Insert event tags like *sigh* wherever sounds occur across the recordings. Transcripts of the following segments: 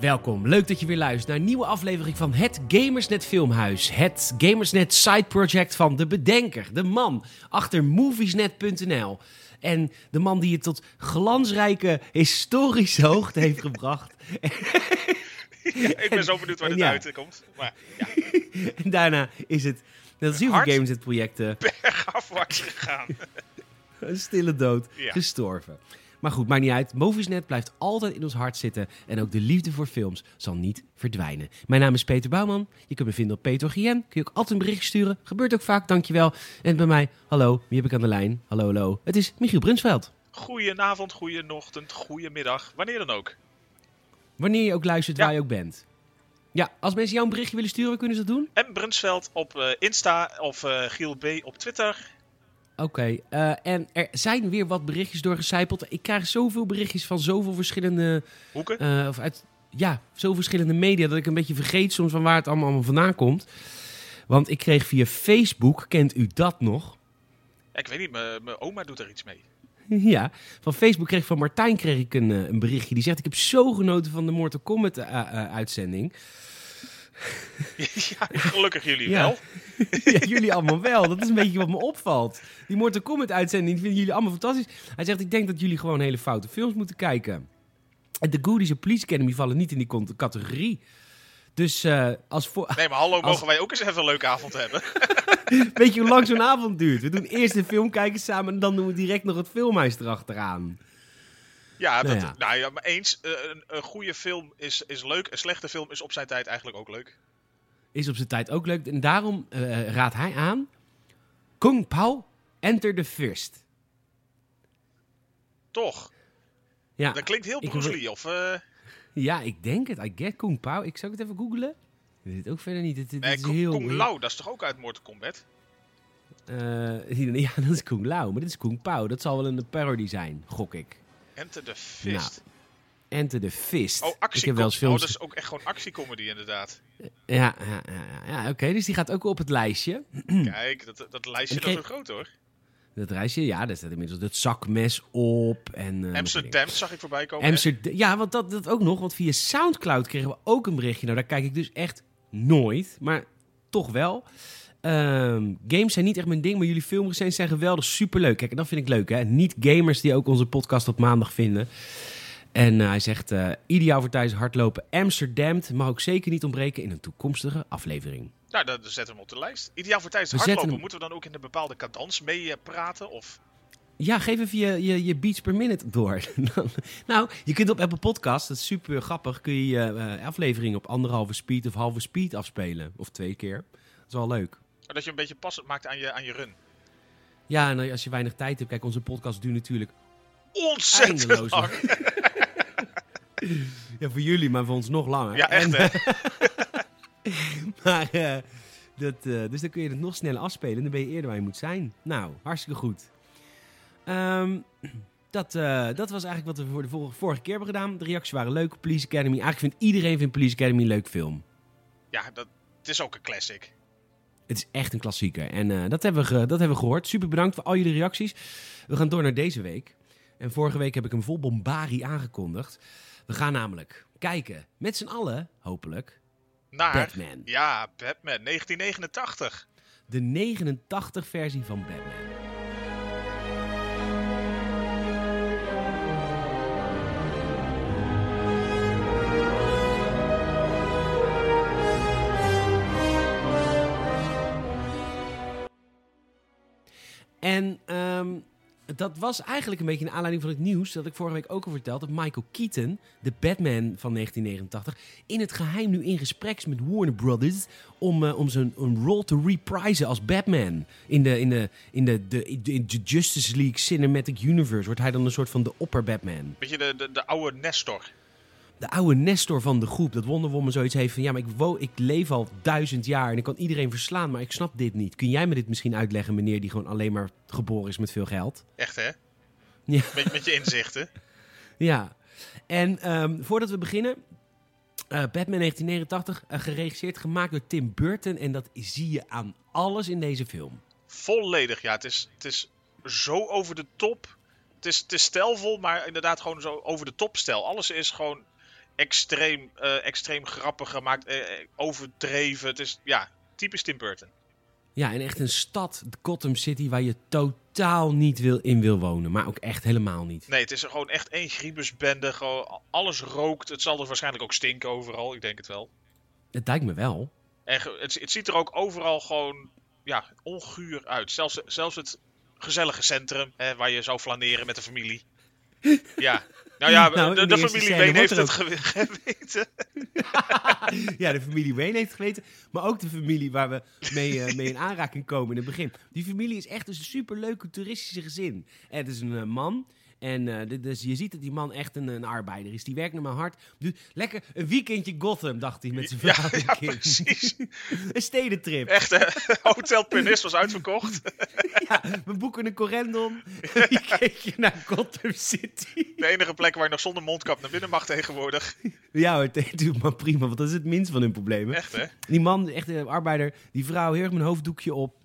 Welkom, leuk dat je weer luistert naar een nieuwe aflevering van het Gamersnet Filmhuis. Het Gamersnet side project van de bedenker, de man achter moviesnet.nl. En de man die het tot glansrijke historische *laughs* hoogte heeft gebracht. ik ben zo benieuwd waar en dit ja. uitkomt. Maar *laughs* ja, En daarna is het, net als heel veel Hard. Gamersnet projecten, bergafwaarts gegaan. een stille dood, Ja. gestorven. Maar goed, maakt niet uit. Moviesnet blijft altijd in ons hart zitten. En ook de liefde voor films zal niet verdwijnen. Mijn naam is Peter Bouwman. Je kunt me vinden op Peter Gien. Kun je ook altijd een bericht sturen. Gebeurt ook vaak, dankjewel. En bij mij, hallo, wie heb ik aan de lijn? Hallo, hallo. Het is Michiel Brunsveld. Goedenavond, goeienochtend, goeiemiddag, wanneer dan ook. Wanneer je ook luistert, Ja. waar je ook bent. Ja, als mensen jou een berichtje willen sturen, kunnen ze dat doen? En Brunsveld op eh, Insta of eh, Giel B op Twitter. Oké, eh, en er zijn weer wat berichtjes doorgecijpeld. Ik krijg zoveel berichtjes van zoveel verschillende Hoeken. Eh, of uit ja, zo verschillende media dat ik een beetje vergeet soms van waar het allemaal, allemaal vandaan komt. Want ik kreeg via Facebook, kent u dat nog? *laughs* Ja, ik weet niet, mijn mijn oma doet er iets mee. *laughs* ja, van Facebook kreeg ik van Martijn kreeg ik een, eh, een berichtje. Die zegt, ik heb zo genoten van de Mortal Kombat eh, eh, uitzending. *laughs* ja, gelukkig jullie Ja. wel. Ja, jullie allemaal wel, dat is een beetje wat me opvalt. Die Mortal Kombat uitzending vinden jullie allemaal fantastisch. Hij zegt, ik denk dat jullie gewoon hele foute films moeten kijken. En de Goodies en Police Academy vallen niet in die cont- categorie. Dus eh, als, voor, *laughs* Nee, maar hallo, Als- mogen wij ook eens even een leuke avond hebben? *laughs* Weet je hoe lang zo'n avond duurt? We doen eerst de film kijken samen en dan doen we direct nog het filmhuis erachteraan. ja, dat, Nou ja. nou ja. maar eens, eh, een, een goede film is, is leuk, een slechte film is op zijn tijd eigenlijk ook leuk. Is op zijn tijd ook leuk. En daarom eh, raadt hij aan... Kung Pao, Enter the First. Toch? Ja, Dat klinkt heel ik- Bruce Lee, of... eh, ja, ik denk het. I get Kung Pao. Ik zou het even googlen. Ik weet het ook verder niet. Het, het nee, is Kung- heel... Kung Lao, dat is toch ook uit Mortal Kombat? Eh, hier- ja, *laughs* dat is Kung Lao. Maar dit is Kung Pao. Dat zal wel een parody zijn, gok ik. Enter the Nou, Fist. Enter the Fist. oh, actie. ik heb wel eens Oh, films... dat is ook echt gewoon actiecomedy inderdaad. Ja, ja, ja, ja. ja oké. dus die gaat ook op het lijstje. Kijk, dat, dat lijstje En dat is kreeg- wel groot hoor. Dat reisje, ja, daar staat inmiddels het zakmes op. En, eh, nog dingen. Amsterdam zag ik voorbij komen. hè? Amsterdam. Ja, want dat, dat ook nog. Want via Soundcloud kregen we ook een berichtje. Nou, daar kijk ik dus echt nooit. Maar toch wel. Ehm, games zijn niet echt mijn ding, maar jullie filmrecensies zijn geweldig. Superleuk. Kijk, en dat vind ik leuk, hè. Niet gamers die ook onze podcast op maandag vinden. En eh, hij zegt, eh, ideaal voor tijdens hardlopen. Amsterdam mag ook zeker niet ontbreken in een toekomstige aflevering. Nou, dan zetten we hem op de lijst. Ideaal voor tijdens We het zetten hardlopen. hem- Moeten we dan ook in een bepaalde cadans mee eh, praten? Of... Ja, geef even je, je, je beats per minute door. *laughs* Dan- nou, je kunt op Apple Podcast, dat is super grappig, kun je je eh, aflevering op anderhalve speed of halve speed afspelen. Of twee keer. Dat is wel leuk. Dat je een beetje passend maakt aan je, aan je run. Ja, en als je weinig tijd hebt, kijk, onze podcast duurt natuurlijk Ontzettend eindeloos lang. lang. *laughs* ja, voor jullie, maar voor ons nog langer. Ja, echt En- hè. maar, eh, dat, eh, dus dan kun je het nog sneller afspelen en dan ben je eerder waar je moet zijn. Nou, hartstikke goed. Ehm, dat, eh, dat was eigenlijk wat we voor de vor- vorige keer hebben gedaan. De reacties waren leuk. Police Academy. Eigenlijk vindt iedereen vindt Police Academy een leuk film. Ja, dat, het is ook een classic. Het is echt een klassieker. En eh, dat, hebben we, ge- dat hebben we gehoord. Super bedankt voor al jullie reacties. We gaan door naar deze week. En vorige week heb ik hem vol bombari aangekondigd. We gaan namelijk kijken, met z'n allen, hopelijk, Naar... Batman. Ja, Batman 1989. De 89-versie van Batman. En ehm, dat was eigenlijk een beetje een aanleiding van het nieuws dat ik vorige week ook al verteld dat Michael Keaton, de Batman van 1989, in het geheim nu in gesprek is met Warner Brothers om, eh, om zijn een rol te reprisen als Batman. In de, in, de, in, de, de, in de- in de Justice League Cinematic Universe wordt hij dan een soort van de opper-Batman. Beetje de, de, de oude Nestor. De oude Nestor van de groep, dat Wonder Woman zoiets heeft van... ja, maar ik, wo ik leef al duizend jaar en ik kan iedereen verslaan, maar ik snap dit niet. Kun jij me dit misschien uitleggen, meneer die gewoon alleen maar geboren is met veel geld? Echt hè? Ja. Met, met je inzichten. Ja. En ehm, voordat we beginnen, eh, Batman 1989, eh, geregisseerd, gemaakt door Tim Burton. En dat zie je aan alles in deze film. Volledig, ja. Het is, het is zo over de top. Het is, het is stijlvol, maar inderdaad gewoon zo over de top stijl. Alles is gewoon extreem, eh, extreem grappig gemaakt, eh, eh, overdreven. Het is ja, typisch Tim Burton. Ja, en echt een stad, Gotham City, waar je totaal niet wil in wil wonen. Maar ook echt helemaal niet. Nee, het is gewoon echt één griebusbende. Gewoon alles rookt. Het zal er waarschijnlijk ook stinken overal. Ik denk het wel. Het lijkt me wel. En ge- het, het ziet er ook overal gewoon ja, onguur uit. Zelfs, zelfs het gezellige centrum hè, waar je zou flaneren met de familie. Ja. Nou *laughs* ja, Nou, in de, de de eerste familie scène Wayne heeft het wordt gew- *laughs* geweten. Ja, de familie Wayne heeft geweten. Maar ook de familie waar we mee, eh, mee in aanraking komen in het begin. Die familie is echt dus een superleuke toeristische gezin. En het is een eh, man. En eh, dit- dus je ziet dat die man echt een, een arbeider is. Die werkt naar mijn hart. Doet lekker een weekendje Gotham, dacht hij met zijn Ja, vrouw en ja, kind. precies. *laughs* Een stedentrip. Echt, hè, *laughs* Hotel Pernis was uitverkocht. Ja, we boeken een correndon. *laughs* Een weekendje naar Gotham City. De enige plek waar je nog zonder mondkap naar binnen mag tegenwoordig. Ja hoor, *laughs* het doet maar prima, want dat is het minst van hun problemen. Echt, hè? Die man, echt een arbeider. Die vrouw, heel erg met een hoofddoekje op.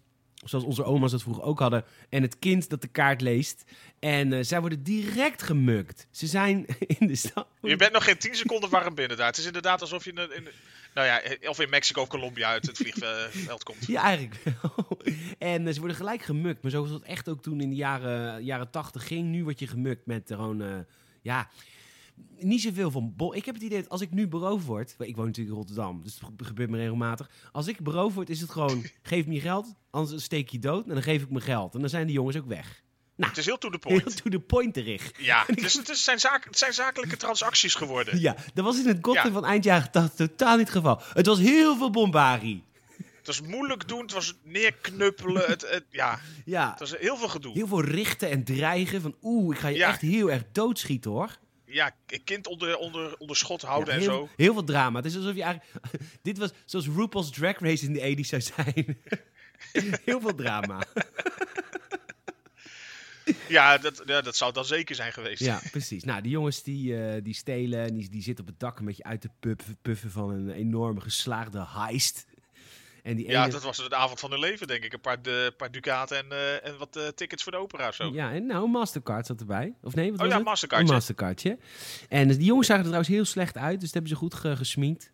Zoals onze oma's dat vroeger ook hadden. En het kind dat de kaart leest. En eh, zij worden direct gemukt. Ze zijn *laughs* in de stad. Je bent nog geen 10 seconden warm binnen daar. Het is inderdaad alsof je in, in, nou ja, eh, of in Mexico of Colombia uit het vliegveld komt. Ja, eigenlijk wel. *laughs* En eh, ze worden gelijk gemukt. Maar zoals dat echt ook toen in de jaren, jaren 80 ging. Nu word je gemukt met gewoon, eh, ja, niet zoveel van bol. Ik heb het idee dat als ik nu beroofd word. Ik woon natuurlijk in Rotterdam, dus het gebeurt me regelmatig. Als ik beroofd word, is het *laughs* gewoon, geef me je geld, anders steek je dood. En dan geef ik mijn geld. En dan zijn die jongens ook weg. Het is heel to the Nou, *laughs* Heel point. to the point terecht. *laughs* Ja, het, is, het, is- zijn zaak, het zijn zakelijke transacties geworden. Ja, dat was in het Gotham Ja. van eind jaren 80 totaal niet het geval. Het was heel veel bombarie. Het was moeilijk doen, het was neerknuppelen. Het, het- ja, Ja, het was heel veel gedoe. heel veel richten en dreigen van oeh, ik ga je Ja. echt heel erg doodschieten hoor. Ja, k- kind onder, onder, onder schot houden Ja, en heel, zo. heel veel drama. Het is alsof je eigenlijk... *laughs* Dit was zoals RuPaul's Drag Race in de 80s zou zijn. *laughs* heel veel drama. Ja dat, ja, dat zou dan zeker zijn geweest. Ja, precies. Nou, die jongens die, eh, die stelen en die, die zitten op het dak een beetje uit te puff- puffen van een enorme geslaagde heist. En die Ja, ene- dat was de avond van hun leven, denk ik. Een paar, de, paar ducaten en, eh, en wat eh, tickets voor de opera of zo. Ja, en nou, Mastercard zat erbij. Of nee, wat oh was ja, het? Mastercard. Een ja. mastercardje. En die jongens zagen er trouwens heel slecht uit, dus dat hebben ze goed ge gesminkt.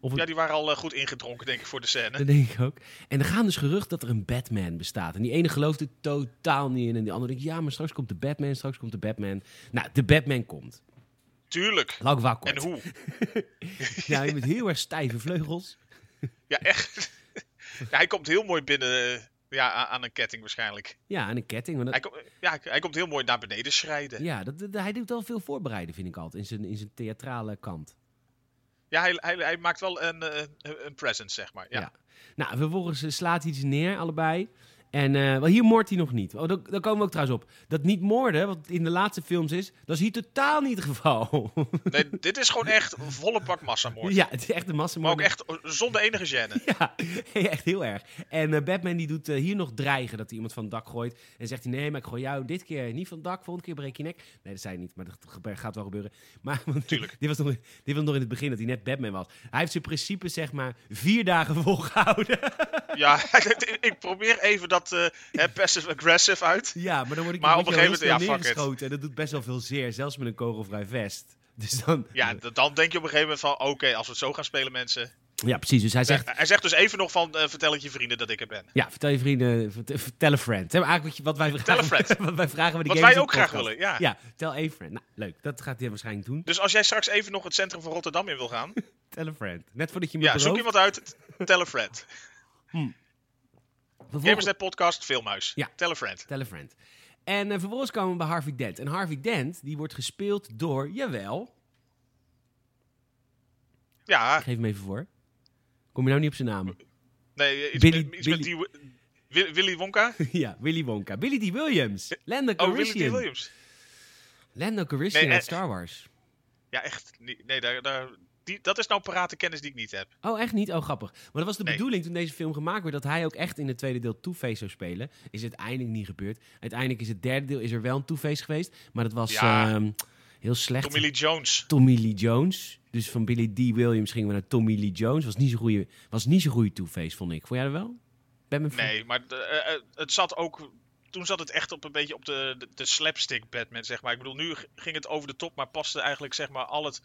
Of Ja, die waren al eh, goed ingedronken, denk ik, voor de *laughs* scène. Dat denk ik ook. En er gaan dus geruchten dat er een Batman bestaat. En die ene gelooft het totaal niet in. En die andere denkt, ja, maar straks komt de Batman, straks komt de Batman. Nou, de Batman komt. Tuurlijk. Lang waar En komt. hoe? Ja, je met heel erg stijve vleugels. Ja, echt. *laughs* Ja, hij komt heel mooi binnen eh, ja, a- aan een ketting waarschijnlijk. Ja, en een ketting. want dat- Hij, kom- ja, hij komt heel mooi naar beneden schrijden. ja, dat, dat- hij doet wel veel voorbereiden, vind ik altijd. In zijn, in zijn theatrale kant. Ja, hij, hij, hij maakt wel een, eh, een, een presence, zeg maar. Ja. Ja. Nou, vervolgens eh, slaat hij ze neer, allebei. En eh, wel, hier moordt hij nog niet. Oh, daar, daar komen we ook trouwens op. Dat niet moorden, wat in de laatste films is, dat is hier totaal niet het geval. *laughs* Nee, dit is gewoon echt volle pak massamoord. ja, het is echt een Maar massamoord. ook echt zonder enige gêne. *laughs* Ja, echt heel erg. En eh, Batman die doet eh, hier nog dreigen dat hij iemand van het dak gooit. En zegt hij, nee, maar ik gooi jou dit keer niet van het dak. Volgende keer breek je nek. Nee, dat zei hij niet, maar dat gebe- gaat wel gebeuren. *laughs* Maar want Tuurlijk. Dit, was nog, dit was nog in het begin, dat hij net Batman was. Hij heeft zijn principe, zeg maar, vier dagen *laughs* volgehouden. Ja, *laughs* ik probeer even dat eh, hè, passive-aggressive uit. ja, maar dan word ik Maar word op je een al gegeven heel moment, snel ja, fuck it. neergeschoten. En dat doet best wel veel zeer, zelfs met een kogelvrij vest. Dus dan... Ja, d- dan denk je op een gegeven moment van... Oké, als we het zo gaan spelen, mensen... ja precies. Dus hij zegt, Hij zegt dus even nog van... eh, vertel het je vrienden dat ik er ben. ja, vertel je vrienden, vert- vertel een friend. Hè, maar eigenlijk wat, je, wat wij Vertel een vragen, *laughs* wat wij vragen bij de Wat Games wij in ook graag Podcast. willen, ja. Ja, tell a friend. Nou, leuk. Dat gaat hij waarschijnlijk doen. Dus als jij straks even nog het centrum van Rotterdam in wil gaan... Tell a friend. Net voordat je me ja, ja, zoek iemand uit. Tell a friend. Gamersnet Podcast, Filmhuis. Ja. Tell a friend. Tell a friend. En eh, vervolgens komen we bij Harvey Dent. En Harvey Dent, die wordt gespeeld door, jawel, Ja, ik geef hem even voor. Kom je nou niet op zijn naam? *laughs* nee, eh, iets, Billy- met, iets met die... Wi- Willy Wonka? ja, Willy Wonka. Billy D. Williams. Lando Oh, Willy D. Calrissian. Williams. Lando Calrissian Nee, uit eh, Star Wars. Ja, echt. niet- Nee, daar, daar, die, dat is nou paratenkennis die ik niet heb. Oh, echt niet? Oh, grappig. Maar dat was de Nee. bedoeling toen deze film gemaakt werd... dat hij ook echt in het tweede deel Two-Face zou spelen. Is uiteindelijk niet gebeurd. Uiteindelijk is het derde deel is er wel een Two-Face geweest. Maar dat was Ja. ehm, heel slecht. Tommy Lee Jones. Tommy Lee Jones. Dus van Billy D. Williams gingen we naar Tommy Lee Jones. Was niet zo'n goede, was niet zo'n goede Two-Face, vond ik. Vond jij dat wel? Batman vond- *laughs* Nee, maar eh, eh, het zat ook. Toen zat het echt op een beetje op de, de, de slapstick Batman, zeg maar. Ik bedoel, nu g- ging het over de top, maar paste eigenlijk zeg maar al het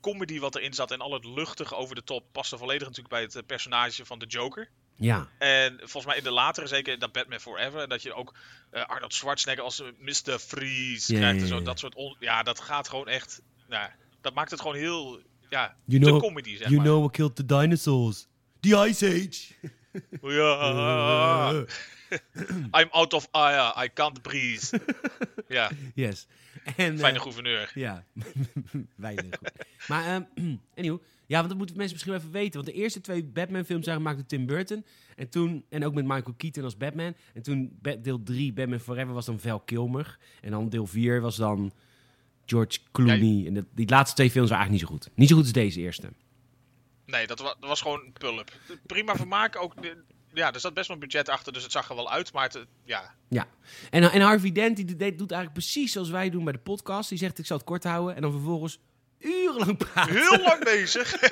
comedy wat erin zat en al het luchtige over de top paste volledig natuurlijk bij het eh, personage van de Joker. Ja. En volgens mij in de latere, zeker in dat Batman Forever, dat je ook eh, Arnold Schwarzenegger als eh, Mr. Freeze Ja, krijgt. ja, en zo, ja. dat soort on- ja, dat gaat gewoon echt. Nou, dat maakt het gewoon heel. Ja, You de know, comedy, zeg you maar. know what killed the dinosaurs? The Ice Age. *laughs* Ja. Eh, I'm out of air, I can't *laughs* breathe. ja, yes. En, eh, fijne gouverneur. Ja, *laughs* weinig. goed. Maar, ehm *clears throat* anyhow. Ja, want dat moeten mensen misschien wel even weten. Want de eerste twee Batman-films zijn gemaakt door Tim Burton. En toen, en ook met Michael Keaton als Batman. En toen Ba- deel 3, Batman Forever, was dan Val Kilmer. En dan deel 4 was dan George Clooney. En dat, die laatste twee films waren eigenlijk niet zo goed. Niet zo goed als deze eerste. Nee, dat, wa- dat was gewoon pulp. Prima vermaak ook. de- Ja, er zat best wel een budget achter, dus het zag er wel uit. Maar het, ja, Ja. En, en Harvey Dent die deed- doet eigenlijk precies zoals wij doen bij de podcast. Die zegt, ik zal het kort houden. En dan vervolgens urenlang praten. heel lang *laughs* bezig. ja,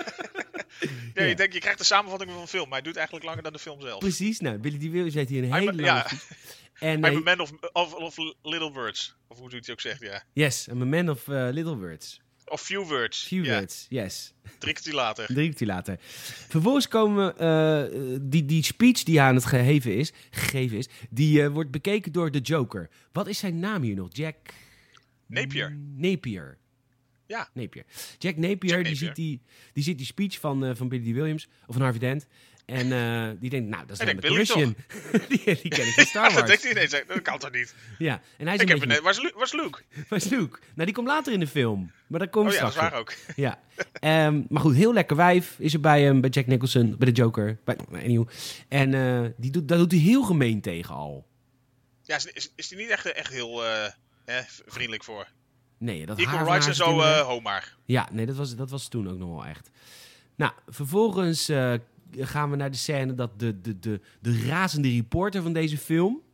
Ja. je denkt, je krijgt de samenvatting van een film, maar hij duurt eigenlijk langer dan de film zelf. Precies. Nou, Billy D. Williams heeft hier een I'm hele a- lange ja. speech. En, I'm eh, a man of, of, of little words. Of hoe doet hij ook zegt, ja. Yes, I'm a man of eh, little words. Of few words. Few ja, words, yes. Drie kwartier later. Drie uur later. Vervolgens komen we, eh, eh, die, die speech die aan het geheven is, gegeven is, die eh, wordt bekeken door de Joker. Wat is zijn naam hier nog? Jack... Napier. Napier. Ja. Napier. Jack Napier, Jack Die, Napier. ziet die, die ziet die speech van, eh, van Billy D. Williams, of van Harvey Dent. En eh, die denkt, nou, dat is Hij een denkt, Billy Russian. *laughs* die, die ken ik van Star Ja, *laughs* dat denkt Wars. hij ineens. Dat kan toch niet? ja, en hij is Ik een heb beetje... een, waar, is Lu- waar is Luke? Waar is Luke? Nou, die komt later in de film. Maar daar komen Oh we ja, dat straks is op. waar ook. Ja. Ehm, maar goed, heel lekker wijf is er bij hem, bij Jack Nicholson, bij de Joker. Bij, anyhow. En eh, die doet, daar doet hij heel gemeen tegen al. Ja, is, is, is die niet echt, echt heel eh, hè, v- vriendelijk voor? Nee, dat haar Equal van rights haar en zo, kinderen- eh ho maar. Ja, nee, dat was, dat was toen ook nog wel echt. Nou, vervolgens eh, gaan we naar de scène dat de, de, de, de razende reporter van deze film...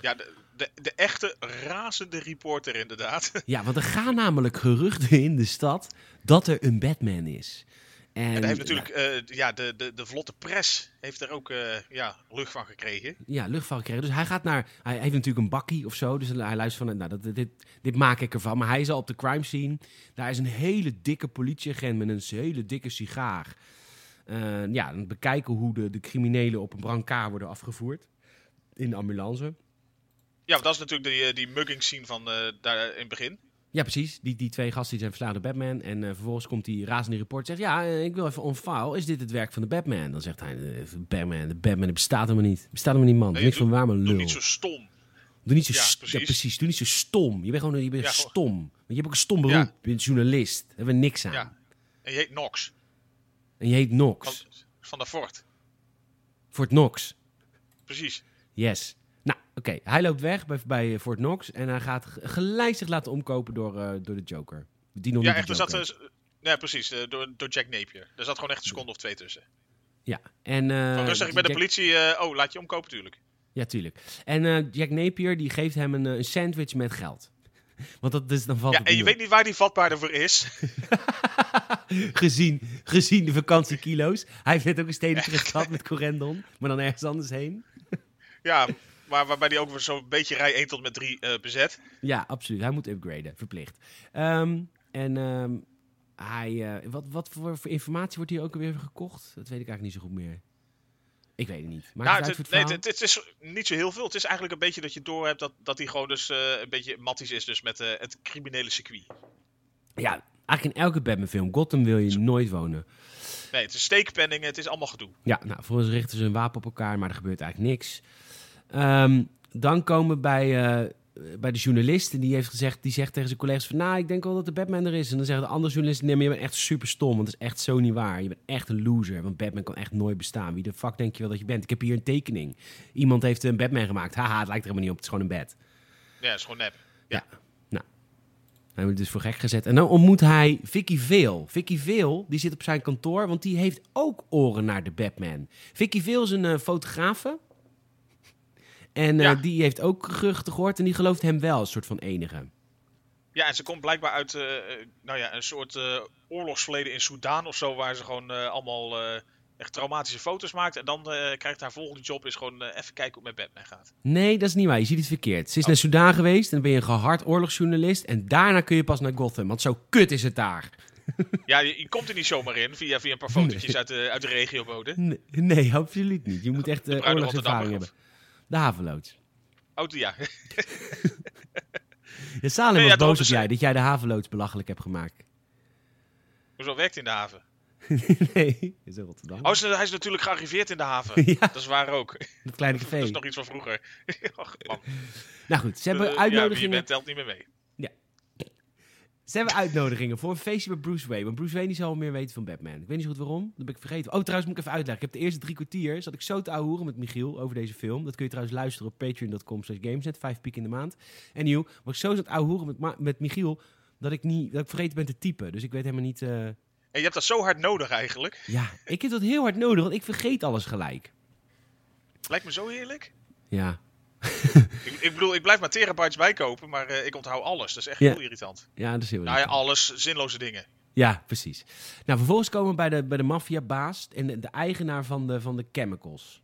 Ja, de, de, de echte razende reporter inderdaad. *laughs* Ja, want er gaan namelijk geruchten in de stad dat er een Batman is. En, En daar heeft natuurlijk eh, ja, de, de, de vlotte pres heeft er ook eh, ja, lucht van gekregen. ja, luchtval gekregen. Dus hij gaat naar. Hij heeft natuurlijk een bakkie of zo. Dus hij luistert van. Nou, dat, dit, dit maak ik ervan. Maar hij is al op de crime scene. Daar is een hele dikke politieagent met een hele dikke sigaar. Eh, ja, dan bekijken hoe de, de criminelen op een brancard worden afgevoerd. In de ambulance. Ja, want dat is natuurlijk die, eh, die mugging scene van eh, daar in het begin. Ja, precies. Die, die twee gasten die zijn verslagen door Batman. En eh, vervolgens komt die razende report zegt... Ja, eh, ik wil even on file. Is dit het werk van de Batman? Dan zegt hij... eh, Batman, de Batman het bestaat helemaal niet. Bestaat helemaal niet, man. Nee, Niks van waar, maar lul. Doe niet zo stom. Doe niet zo, Ja, st- precies. Ja, precies. Doe niet zo stom. Je bent gewoon je bent Ja, gewoon- stom. Want je hebt ook een stom beroep. Ja. Je bent journalist. Daar hebben we niks aan. Ja. En je heet Nox. En je heet Nox. Van, van de Fort. Fort Knox. Precies. Yes. Nou, oké. Hij loopt weg bij, bij eh, Fort Knox. En hij gaat g- gelijk zich laten omkopen door, eh, door de Joker. Die nog Ja, niet echt, de er zat... Joker. eh, ja, precies. eh, door, door Jack Napier. Er zat gewoon echt een seconde of twee tussen. Ja. En, eh, Van rustig, ik ben de Jack- politie. eh, oh, laat je omkopen, tuurlijk. Ja, tuurlijk. En eh, Jack Napier die geeft hem een, eh, een sandwich met geld. *laughs* Want dat is dan valt Ja, het en je niet weet niet waar die vatbaar ervoor is. *laughs* gezien, gezien de vakantiekilo's. Hij heeft net ook een stedelijke gehad met Corendon. Maar dan ergens anders heen. ja, maar waarbij die ook weer zo'n beetje rij 1 tot en met 3 eh, bezet. Ja, absoluut. Hij moet upgraden, verplicht. Ehm, en ehm, hij, eh, wat, wat voor, voor informatie wordt hier ook weer gekocht? Dat weet ik eigenlijk niet zo goed meer. Ik weet het niet. Maar Nou, het, nee, het, het is niet zo heel veel. Het is eigenlijk een beetje dat je doorhebt dat, dat hij gewoon dus eh, een beetje matties is dus met eh, het criminele circuit. Ja, eigenlijk in elke Batman-film. Gotham wil je nooit wonen. Nee, het is steekpenningen, het is allemaal gedoe. Ja, nou, volgens richten ze hun wapen op elkaar, maar er gebeurt eigenlijk niks. Ehm, dan komen we bij, eh, bij de journalist en die, heeft gezegd, die zegt tegen zijn collega's van... nou, ik denk wel dat de Batman er is. En dan zegt de andere journalist... nee, maar je bent echt super stom, want dat is echt zo niet waar. Je bent echt een loser, want Batman kan echt nooit bestaan. Wie de fuck denk je wel dat je bent? Ik heb hier een tekening. Iemand heeft een Batman gemaakt. Haha, het lijkt er helemaal niet op, het is gewoon een bed. Ja, dat is gewoon nep. Hij wordt dus voor gek gezet. En dan ontmoet hij Vicky Veel. Vicky Veel, die zit op zijn kantoor, want die heeft ook oren naar de Batman. Vicky Veel is een eh, fotografe. En eh, Ja. die heeft ook geruchten gehoord en die gelooft hem wel, een soort van enige. Ja, en ze komt blijkbaar uit eh, eh, nou ja, een soort eh, oorlogsverleden in Soudaan of zo, waar ze gewoon eh, allemaal eh, echt traumatische foto's maakt. En dan eh, krijgt haar volgende job is gewoon eh, even kijken hoe het met Batman gaat. Nee, dat is niet waar. Je ziet het verkeerd. Ze is naar Soudaan geweest en dan ben je een gehard oorlogsjournalist. En daarna kun je pas naar Gotham, want zo kut is het daar. Ja, je, je komt er niet zomaar in via, via een paar fotootjes Nee. uit, de, uit de regiobode. Nee, nee, absoluut niet. Je moet echt De eh bruine oorlogservaring hebben. Rotterdammer. De haveloods. Auto, Oh, ja. *laughs* Ja, Salem Nee, was ja, dat boos op is- jij dat jij de haveloods belachelijk hebt gemaakt. *laughs* Hoezo werkt hij in de haven? nee, is in Rotterdam. Oh, ze- hij is natuurlijk gearriveerd in de *laughs* haven. ja, Dat is waar ook. dat kleine café. *laughs* Dat is nog iets van vroeger. *laughs* Och, man. Nou goed, ze Eh, hebben, Ja, wie je uitnodigingen, bent telt niet meer mee. ze hebben uitnodigingen voor een feestje bij Bruce Wayne. Want Bruce Wayne die zal meer weten van Batman. Ik weet niet zo goed waarom, dat ben ik vergeten. Oh, trouwens moet ik even uitleggen. Ik heb de eerste drie kwartier, zat ik zo te ouwehoeren met Michiel over deze film. Dat kun je trouwens luisteren op patreon.com slash gamesnet, vijf piek in de maand. En nieuw, was ik zo aan het ouwehoeren met, Ma- met Michiel, dat ik, niet, dat ik vergeten ben te typen. Dus ik weet helemaal niet... eh, En je hebt dat zo hard nodig eigenlijk. Ja, ik heb dat heel hard nodig, want ik vergeet alles gelijk. Lijkt me zo heerlijk. Ja, Ik, ik bedoel, ik blijf maar terabytes bijkopen, maar eh, ik onthoud alles. Dat is echt Ja. heel irritant. ja dat is heel Nou ja, irritant. alles, zinloze dingen. Ja, precies. Nou, vervolgens komen we bij de, bij de maffiabaas en de, de eigenaar van de, van de chemicals.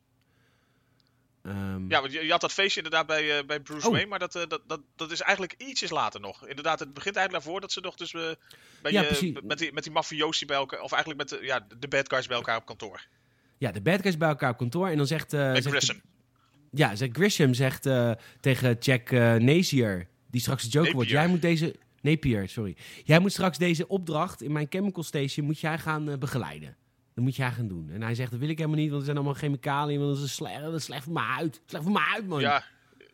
Ehm, Ja, want je, je had dat feestje inderdaad bij, eh, bij Bruce Oh. Wayne, maar dat, eh, dat, dat, dat is eigenlijk ietsjes later nog. Inderdaad, het begint eigenlijk daarvoor dat ze nog dus eh, bij Ja, je- precies. met die, met die mafiosi bij elkaar, of eigenlijk met de, ja, de bad guys bij elkaar op kantoor. ja, de bad guys bij elkaar op kantoor. En dan zegt... eh, Bij zegt Grissom. ja, zegt Grisham zegt, eh, tegen Jack eh, Napier, die straks de Joker wordt. Napier. Jij moet deze... Napier, sorry. Jij moet straks deze opdracht in mijn chemical station moet jij gaan eh, begeleiden. Dat moet jij gaan doen. En hij zegt, dat wil ik helemaal niet, want er zijn allemaal chemicaliën. Want dat is slecht, dat is slecht voor mijn huid. Slecht voor mijn huid, man. Ja,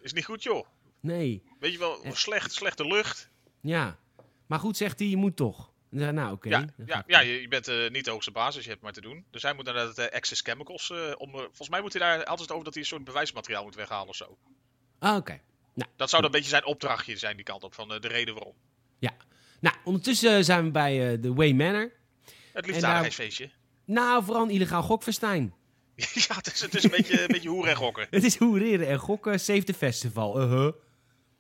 is niet goed joh. Nee, Weet je wel, slecht, slechte lucht. ja. Maar goed, zegt hij, je moet toch. En dan zeg ik, nou, oké. ja, dan ga ja, ik ja, toch. je, je bent eh, niet de hoogste basis, je hebt maar te doen. Dus hij moet naar dat eh, Access Chemicals. eh, om, eh, volgens mij moet hij daar altijd over dat hij een soort bewijsmateriaal moet weghalen of zo. Ah, oké. Dat zou dan een beetje zijn opdrachtje zijn, die kant op, van eh, de reden waarom. Nou, ondertussen eh, zijn we bij eh, de Way Manor. Het daar- liefdadigheidsfeestje. Nou, vooral een illegaal gokfestijn. *laughs* *laughs* ja, het is, het is een beetje, een beetje hoeren en gokken. Het is hoereren en gokken, save the festival. Uh-huh.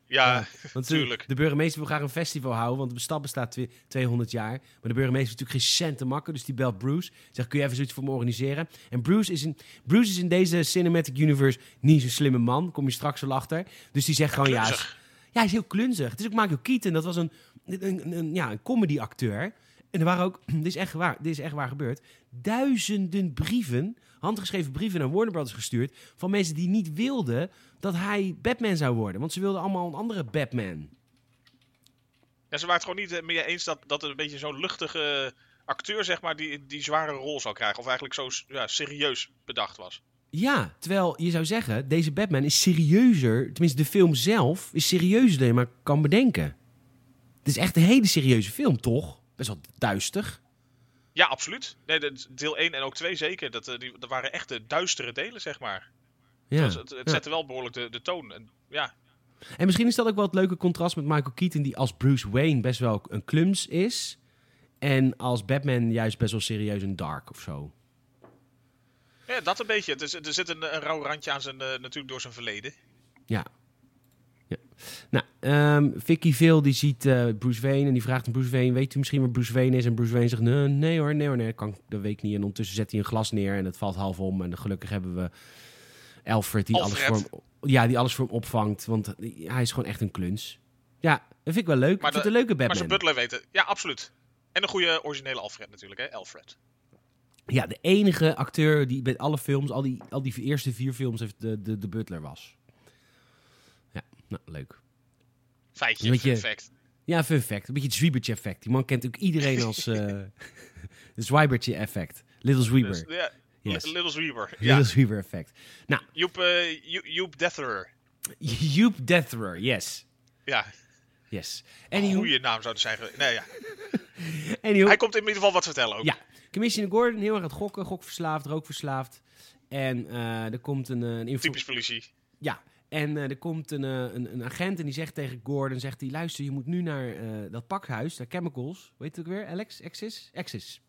Ja, Want ze- Tuurlijk. de burgemeester wil graag een festival houden, want de stad bestaat twe- 200 jaar. Maar de burgemeester is natuurlijk geen cent te makken, dus die belt Bruce. Zegt, kun je even zoiets voor me organiseren? En Bruce is, in, Bruce is in deze cinematic universe niet zo'n slimme man, kom je straks wel achter. Dus die zegt gewoon, ja, is- Klunzig. ja, hij is heel klunzig. Het is ook Michael Keaton, dat was een, een, een- een- ja, een comedy-acteur. En er waren ook, *clears throat* dit is, echt waar, dit is echt waar gebeurd, duizenden brieven, handgeschreven brieven naar Warner Brothers gestuurd, van mensen die niet wilden dat hij Batman zou worden. Want ze wilden allemaal een andere Batman. ja, ze waren het gewoon niet eh, meer eens dat, dat er een beetje zo'n luchtige acteur, zeg maar, die, die zware rol zou krijgen. Of eigenlijk zo s- ja, serieus bedacht was. Ja, terwijl je zou zeggen, deze Batman is serieuzer, tenminste de film zelf, is serieuzer dan je maar kan bedenken. Het is echt een hele serieuze film, toch? Best wel duister. Ja, absoluut. Nee, dat- deel 1 en ook 2 zeker. Dat, eh, die, dat waren echt de duistere delen, zeg maar. Ja. Dus het, het Ja. zette wel behoorlijk de, de toon. En, ja, En misschien is dat ook wel het leuke contrast met Michael Keaton, die als Bruce Wayne best wel een klums is. En als Batman juist best wel serieus en dark of zo. ja, dat een beetje. Het is, er zit een, een rauw randje aan zijn, eh, natuurlijk door zijn verleden. Ja. ja. Nou, ehm Vicky Veel die ziet eh, Bruce Wayne en die vraagt aan Bruce Wayne... weet u misschien waar Bruce Wayne is? En Bruce Wayne zegt, nee, nee hoor, nee hoor, nee, dat, kan, ik- dat weet ik niet. En ondertussen zet hij een glas neer en het valt half om. En gelukkig hebben we Alfred die, alles voor, Alfred. hem, ja, die alles voor hem opvangt. Want eh, hij is gewoon echt een kluns. Ja, dat vind ik wel leuk. Maar ik vind het een leuke Maar Batman. zijn butler weten. Ja, absoluut. En een goede originele Alfred natuurlijk, hè? Alfred. Ja, de enige acteur die bij alle films, al die, al die eerste vier films, heeft de, de, de butler was. Ja, nou, leuk. Feitje, Een beetje- perfect. Ja, fun fact. Een beetje het zwiebertje effect. Die man kent ook iedereen *laughs* als eh *laughs* het zwiebertje effect. Little Dus, Zwieber. ja, Yes. Li- Little Zwieber. Little Ja. Zwieber effect. Nou, Joep, eh, Jo- Joep Detherer. Joep Deathrer. Yes. Ja, Yes. een Anywho, goede naam zou het zijn geweest. Nee, ja. anywho, Hij komt in ieder geval wat vertellen ook. Ja. Commissioner Gordon, heel erg aan het gokken. Gokverslaafd, rookverslaafd. En eh, er komt een, eh, een info- Typisch politie. Ja, en eh, er komt een, eh, een, een agent en die zegt tegen Gordon, zegt hij, luister, je moet nu naar eh, dat pakhuis, naar Chemicals. Weet het ook weer? Alex? Axis? Axis.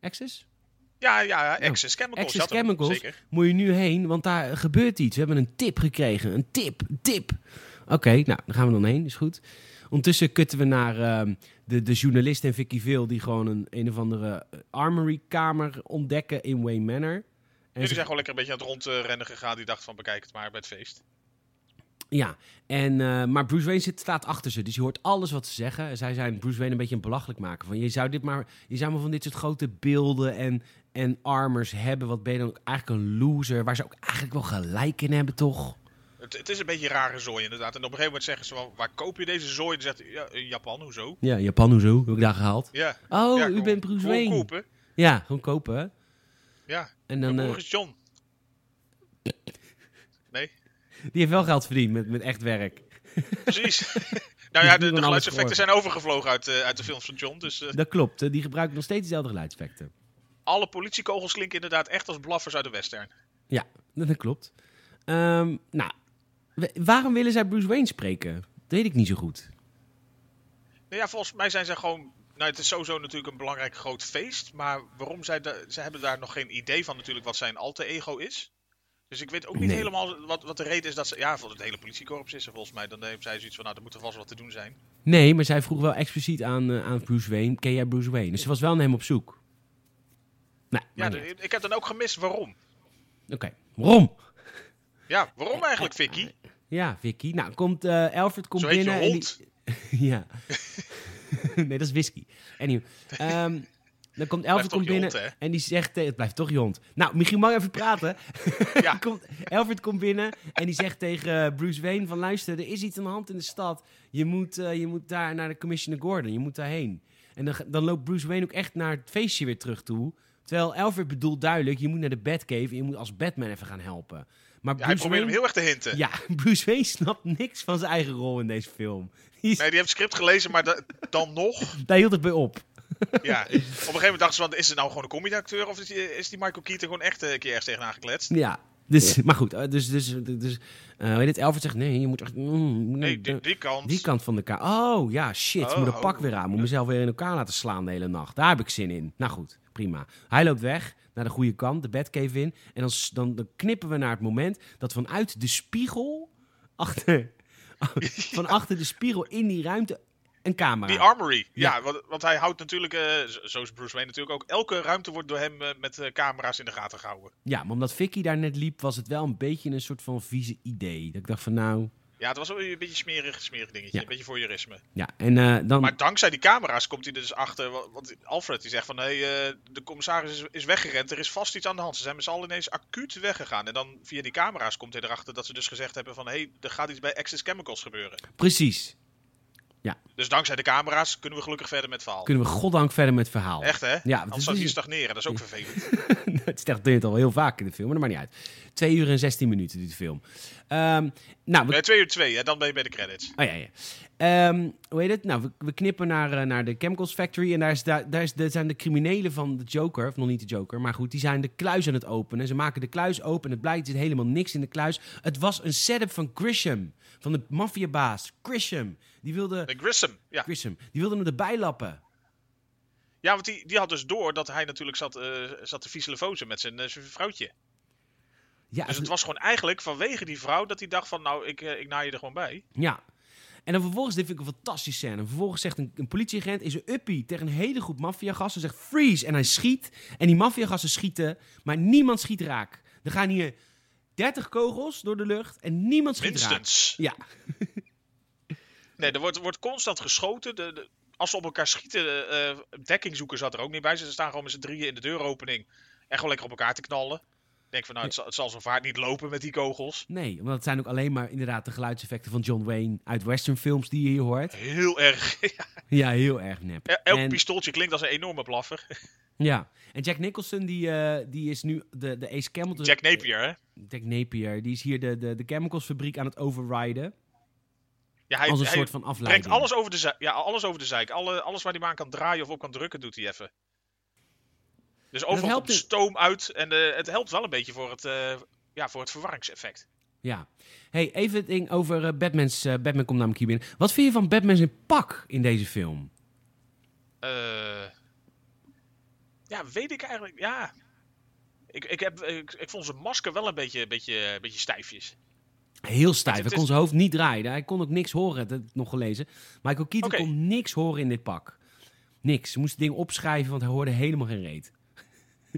Axis? Ja, ja, ja. Access Chemicals. Access had hem, Chemicals. Zeker. Moet je nu heen, want daar gebeurt iets. We hebben een tip gekregen. Een tip, een tip. Oké, nou, daar gaan we dan heen, is goed. Ondertussen kutten we naar ehm, de, de journalist en Vicky Veel... die gewoon een, een of andere eh, armory-kamer ontdekken in Wayne Manor. En Jullie ze- zijn gewoon lekker een beetje aan het rondrennen gegaan. Die dacht van, bekijk het maar bij het feest. Ja, en, eh, maar Bruce Wayne zit, staat achter ze, dus je hoort alles wat ze zeggen. Zij zijn Bruce Wayne een beetje een belachelijk maken. Van, je, zou dit maar, je zou maar van dit soort grote beelden en, en armors hebben. Wat ben je dan ook eigenlijk een loser? Waar ze ook eigenlijk wel gelijk in hebben, toch? Het, het is een beetje een rare zooi inderdaad. En op een gegeven moment zeggen ze wel, waar koop je deze zooi? Dan zegt hij, ja, in Japan, hoezo? Ja, Japan, hoezo? Heb ik daar gehaald? Ja. Oh, ja, u gewoon- bent Bruce gewoon Wayne. kopen. Ja, gewoon kopen. hè? Ja, En dan, dan, eh, *laughs* is John. Nee, die heeft wel geld verdiend met, met echt werk. precies. *laughs* nou ja, Die doen de, de alles geluidseffecten voor. zijn overgevlogen uit, eh, uit de films van John. Dus eh, Dat klopt, hè. die gebruikt nog steeds dezelfde geluidseffecten. alle politiekogels klinken inderdaad echt als blaffers uit de western. Ja, *laughs* dat dat klopt. Ehm, nou, we- waarom willen zij Bruce Wayne spreken? Dat weet ik niet zo goed. Nou ja, volgens mij zijn ze gewoon... Nou, het is sowieso natuurlijk een belangrijk groot feest. Maar waarom zij... da- ze hebben daar nog geen idee van natuurlijk wat zijn alter ego is. Dus ik weet ook niet Nee. helemaal wat, wat de reden is dat ze... Ja, voor het hele politiekorps is er volgens mij. Dan hebben zij zoiets van, nou, er moet er vast wat te doen zijn. Nee, maar zij vroeg wel expliciet aan, eh, aan Bruce Wayne: ken jij Bruce Wayne? Dus ze was wel naar hem op zoek. Nou, Ja, maar de- ik heb dan ook gemist waarom. oké. Waarom? Ja, waarom eigenlijk, Vicky? Ja, Vicky. Nou, komt eh Alfred komt Zo heet je binnen. en hond. die- *laughs* ja. nee, dat is whisky. Anyway, ehm, dan komt Blijft Alfred toch komt je binnen hond, hè? en die zegt... tegen- Het blijft toch je hond. Nou, Michiel, mag ik even praten? *laughs* Ja. komt, Alfred komt binnen en die zegt tegen eh, Bruce Wayne van... Luister, er is iets aan de hand in de stad. Je moet, eh, je moet daar naar de Commissioner Gordon. Je moet daarheen. En dan, ga- dan loopt Bruce Wayne ook echt naar het feestje weer terug toe. Terwijl Alfred bedoelt duidelijk... Je moet naar de Batcave en je moet als Batman even gaan helpen. Maar Ja, hij Bruce probeert hem Wayne... heel erg te hinten. Ja, *laughs* Bruce Wayne snapt niks van zijn eigen rol in deze film. Die is, Nee, die heeft het script gelezen, maar da- dan nog. Daar hield het bij op. Ja. Op een gegeven moment dachten ze, van, is het nou gewoon een comedy-acteur? Of is die, is die Michael Keaton gewoon echt eh, een keer ergens tegenaan gekletst? Ja. Dus, maar goed, eh, dus, dus, dus eh, weet het, Elfert zegt nee, je moet echt... mm, je moet Nee, naar die, de- die kant. die kant van de kaart. Oh, ja, shit, ik Oh, moet een oh. pak weer aan. Moet mezelf weer in elkaar laten slaan de hele nacht. Daar heb ik zin in. Nou goed, prima. Hij loopt weg naar de goede kant, de bedcave in. En dan, s- dan, dan knippen we naar het moment dat vanuit de spiegel... *laughs* Achter, van achter de spiegel in die ruimte een camera. Die armory. Ja, want, want hij houdt natuurlijk, eh, zo zo is Bruce Wayne natuurlijk ook, elke ruimte wordt door hem eh, met eh, camera's in de gaten gehouden. Ja, maar omdat Vicky daar net liep, was het wel een beetje een soort van vieze idee. Dat ik dacht van nou. Ja, het was wel een beetje smerig, smerig dingetje. Ja. Een beetje voyeurisme. Ja, en eh, dan. Maar dankzij die camera's komt hij er dus achter. wa- Want Alfred die zegt van, hé, eh, de commissaris is, is weggerend. Er is vast iets aan de hand. Ze zijn met z'n allen ineens acuut weggegaan. En dan via die camera's komt hij erachter dat ze dus gezegd hebben van... hé, er gaat iets bij Access Chemicals gebeuren. Precies. Dus dankzij de camera's kunnen we gelukkig verder met het verhaal. Kunnen we goddank verder met het verhaal. *laughs* Echt, hè? Ja, Anders het zou is- dus die stagneren. Dat is ook vervelend. het stelt al heel vaak in de film, maar dat maakt niet uit. Twee uur en 16 minuten duurt de film. Ehm, nou, we Nee, twee uur twee, hè? dan ben je bij de *laughs* credits. Oh ja, ja. Ehm, hoe heet het? Nou, we, we knippen naar, eh, naar de Chemicals Factory. En daar, is, daar, daar, is, daar zijn de criminelen van de Joker, of nog niet de Joker, maar goed, die zijn de kluis aan het openen. Ze maken de kluis open en het blijkt, er zit helemaal niks in de kluis. Het was een setup van Grisham, van de maffiabaas Grisham. Die wilde, De Grissom, ja. Grisham, die wilde hem erbij lappen. Ja, want die, die had dus door dat hij natuurlijk zat, eh zat te vieselefozen met zijn, eh, zijn vrouwtje. Ja, Dus het was gewoon eigenlijk vanwege die vrouw dat hij dacht van... nou, ik, eh, ik naai je er gewoon bij. Ja. En dan vervolgens, dit vind ik een fantastische scène. Vervolgens zegt een, een politieagent in zijn uppie tegen een hele groep maffiagassen. Zegt freeze. En hij schiet. En die maffiagassen schieten. Maar niemand schiet raak. Er gaan hier 30 kogels door de lucht. En niemand schiet raak. Minstens. Ja, Nee, er wordt, er wordt constant geschoten. De, de- als ze op elkaar schieten, eh, eh, dekking zoeken zat er ook niet bij. Ze staan gewoon met z'n drieën in de deuropening. En gewoon lekker op elkaar te knallen. Ik denk van, nou, het, zal, het zal zo vaart niet lopen met die kogels. nee. Want het zijn ook alleen maar inderdaad de geluidseffecten van John Wayne uit westernfilms die je hier hoort. Heel erg. *laughs* Ja, heel erg nep. El- Elk En- pistooltje klinkt als een enorme blaffer. Ja. En Jack Nicholson, die, eh, die is nu de, de Ace Campbell. Jack Napier, hè? Jack Napier. Die is hier de, de, de chemicals fabriek aan het overriden. Ja, hij, als een hij soort van afleiding. brengt alles over, de zei- ja, alles over de zeik. Alle, alles waar hij maar aan kan draaien of op kan drukken, doet hij even. Dus overal helpt komt in- stoom uit. En eh, het helpt wel een beetje voor het, eh, ja, voor het verwarringseffect. Ja. Hey, even het ding over eh, Batman's. eh, Batman komt namelijk hier binnen. Wat vind je van Batman's in pak in deze film? Eh, ja, weet ik eigenlijk. Ja. Ik, ik, heb, ik, ik vond zijn masker wel een beetje, beetje, beetje stijfjes. Heel stijf. Het Hij is- kon zijn hoofd niet draaien. Hij kon ook niks horen. Dat heb ik nog gelezen. Michael Keaton Oké. kon niks horen in dit pak. Niks. Ze moest het ding opschrijven, want hij hoorde helemaal geen reet.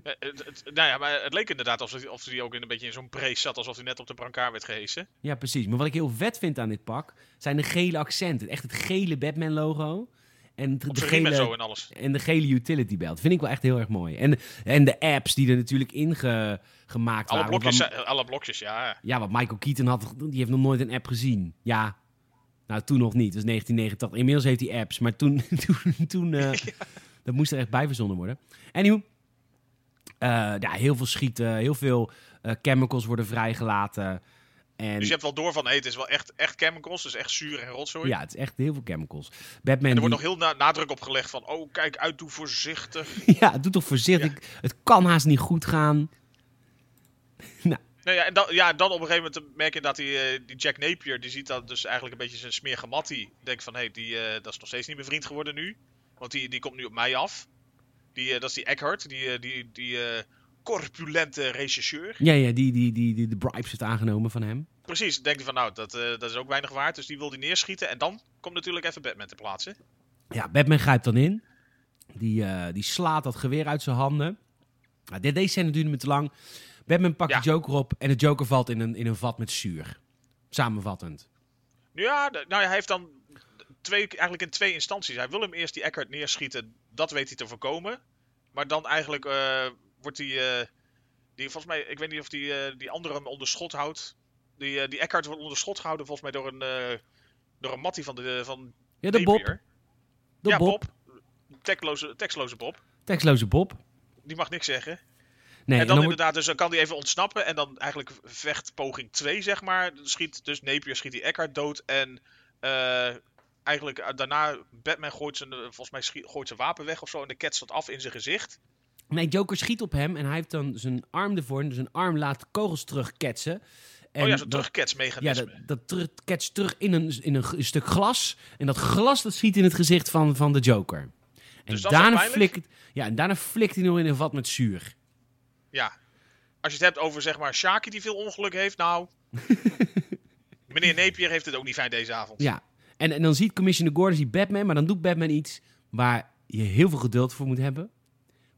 Eh, het, het- nou ja, maar het leek inderdaad alsof hij, of hij ook in een beetje in zo'n brace zat. Alsof hij net op de brancard werd gehesen. Ja, precies. Maar wat ik heel vet vind aan dit pak zijn de gele accenten. Echt het gele Batman-logo. En de, Op de zijn riem en zo gele, en alles. en de gele utility belt. Vind ik wel echt heel erg mooi. En, en de apps die er natuurlijk ingemaakt gemaakt Alle waren. Want blokjes, wat- zijn- alle blokjes, ja. ja, wat Michael Keaton had, die heeft nog nooit een app gezien. Ja, nou toen nog niet. Dat is 1989. Inmiddels heeft hij apps. Maar toen, *laughs* toen, toen eh, dat moest er echt bij verzonnen worden. Anywho, eh, ja, heel veel schieten, heel veel eh, chemicals worden vrijgelaten. En, Dus je hebt wel door van, hé, het is wel echt, echt chemicals. Dus echt zuur en rotzooi. Ja, het is echt heel veel chemicals. Batman En er die, wordt nog heel na- nadruk op gelegd van, oh kijk uit, doe voorzichtig. *laughs* ja, doe toch voorzichtig. Het kan haast niet goed gaan. Nou ja, en dan, ja, en dan op een gegeven moment merk je dat die, eh, die Jack Napier, die ziet dat dus eigenlijk een beetje zijn smerige mattie. Denkt van, hé, hey, die eh, dat is nog steeds niet mijn vriend geworden nu. Want die, die komt nu op mij af. Die, eh, dat is die Eckhart, die, eh, die, die eh, corpulente regisseur. Ja, ja die, die, die, die de bribes heeft aangenomen van hem. Precies, denkt hij van, nou, dat, eh, dat is ook weinig waard. Dus die wil die neerschieten. En dan komt natuurlijk even Batman te plaatsen. Ja, Batman grijpt dan in. Die, eh, die slaat dat geweer uit zijn handen. Nou, de- deze scène duurde me te lang. Batman pakt Ja. de Joker op en de Joker valt in een, in een vat met zuur. Samenvattend. Nu Ja, d- nou ja, hij heeft dan twee, eigenlijk in twee instanties. Hij wil hem eerst die Eckhart neerschieten, dat weet hij te voorkomen. Maar dan eigenlijk eh, wordt die, eh, die, volgens mij, ik weet niet of die, eh, die andere hem onder schot houdt. Die, eh, die Eckhart wordt onder schot gehouden volgens mij door een, eh door een mattie van de van Ja, de Bob. Napier. De ja, Bob. Bob. Tekloze, tekstloze Bob. Tekstloze Bob. Die mag niks zeggen. Nee, en en dan dan, wordt- inderdaad, dus dan kan hij even ontsnappen. En dan eigenlijk vecht poging 2, zeg maar. Dan Schiet, dus Napier schiet die Eckhart dood. En eh, eigenlijk eh, daarna, Batman gooit zijn, eh, volgens mij schiet, gooit zijn wapen weg of zo. En de cat staat af in zijn gezicht. nee, Joker schiet op hem en hij heeft dan zijn arm ervoor. En zijn arm laat de kogels terugketsen. En oh ja, zo'n dat- Ja, terugketsmechanisme. dat, dat ter- ketst terug in een, in een g- een stuk glas. En dat glas dat schiet in het gezicht van, van de Joker. En, Dus dat is daarna pijnlijk? flikt, ja, en daarna flikt hij nog in een vat met zuur. Ja. Als je het hebt over, zeg maar, Shaki die veel ongeluk heeft. *laughs* Nou, meneer Napier heeft het ook niet fijn deze avond. Ja. En, en dan ziet Commissioner Gordon die Batman, maar dan doet Batman iets waar je heel veel geduld voor moet hebben.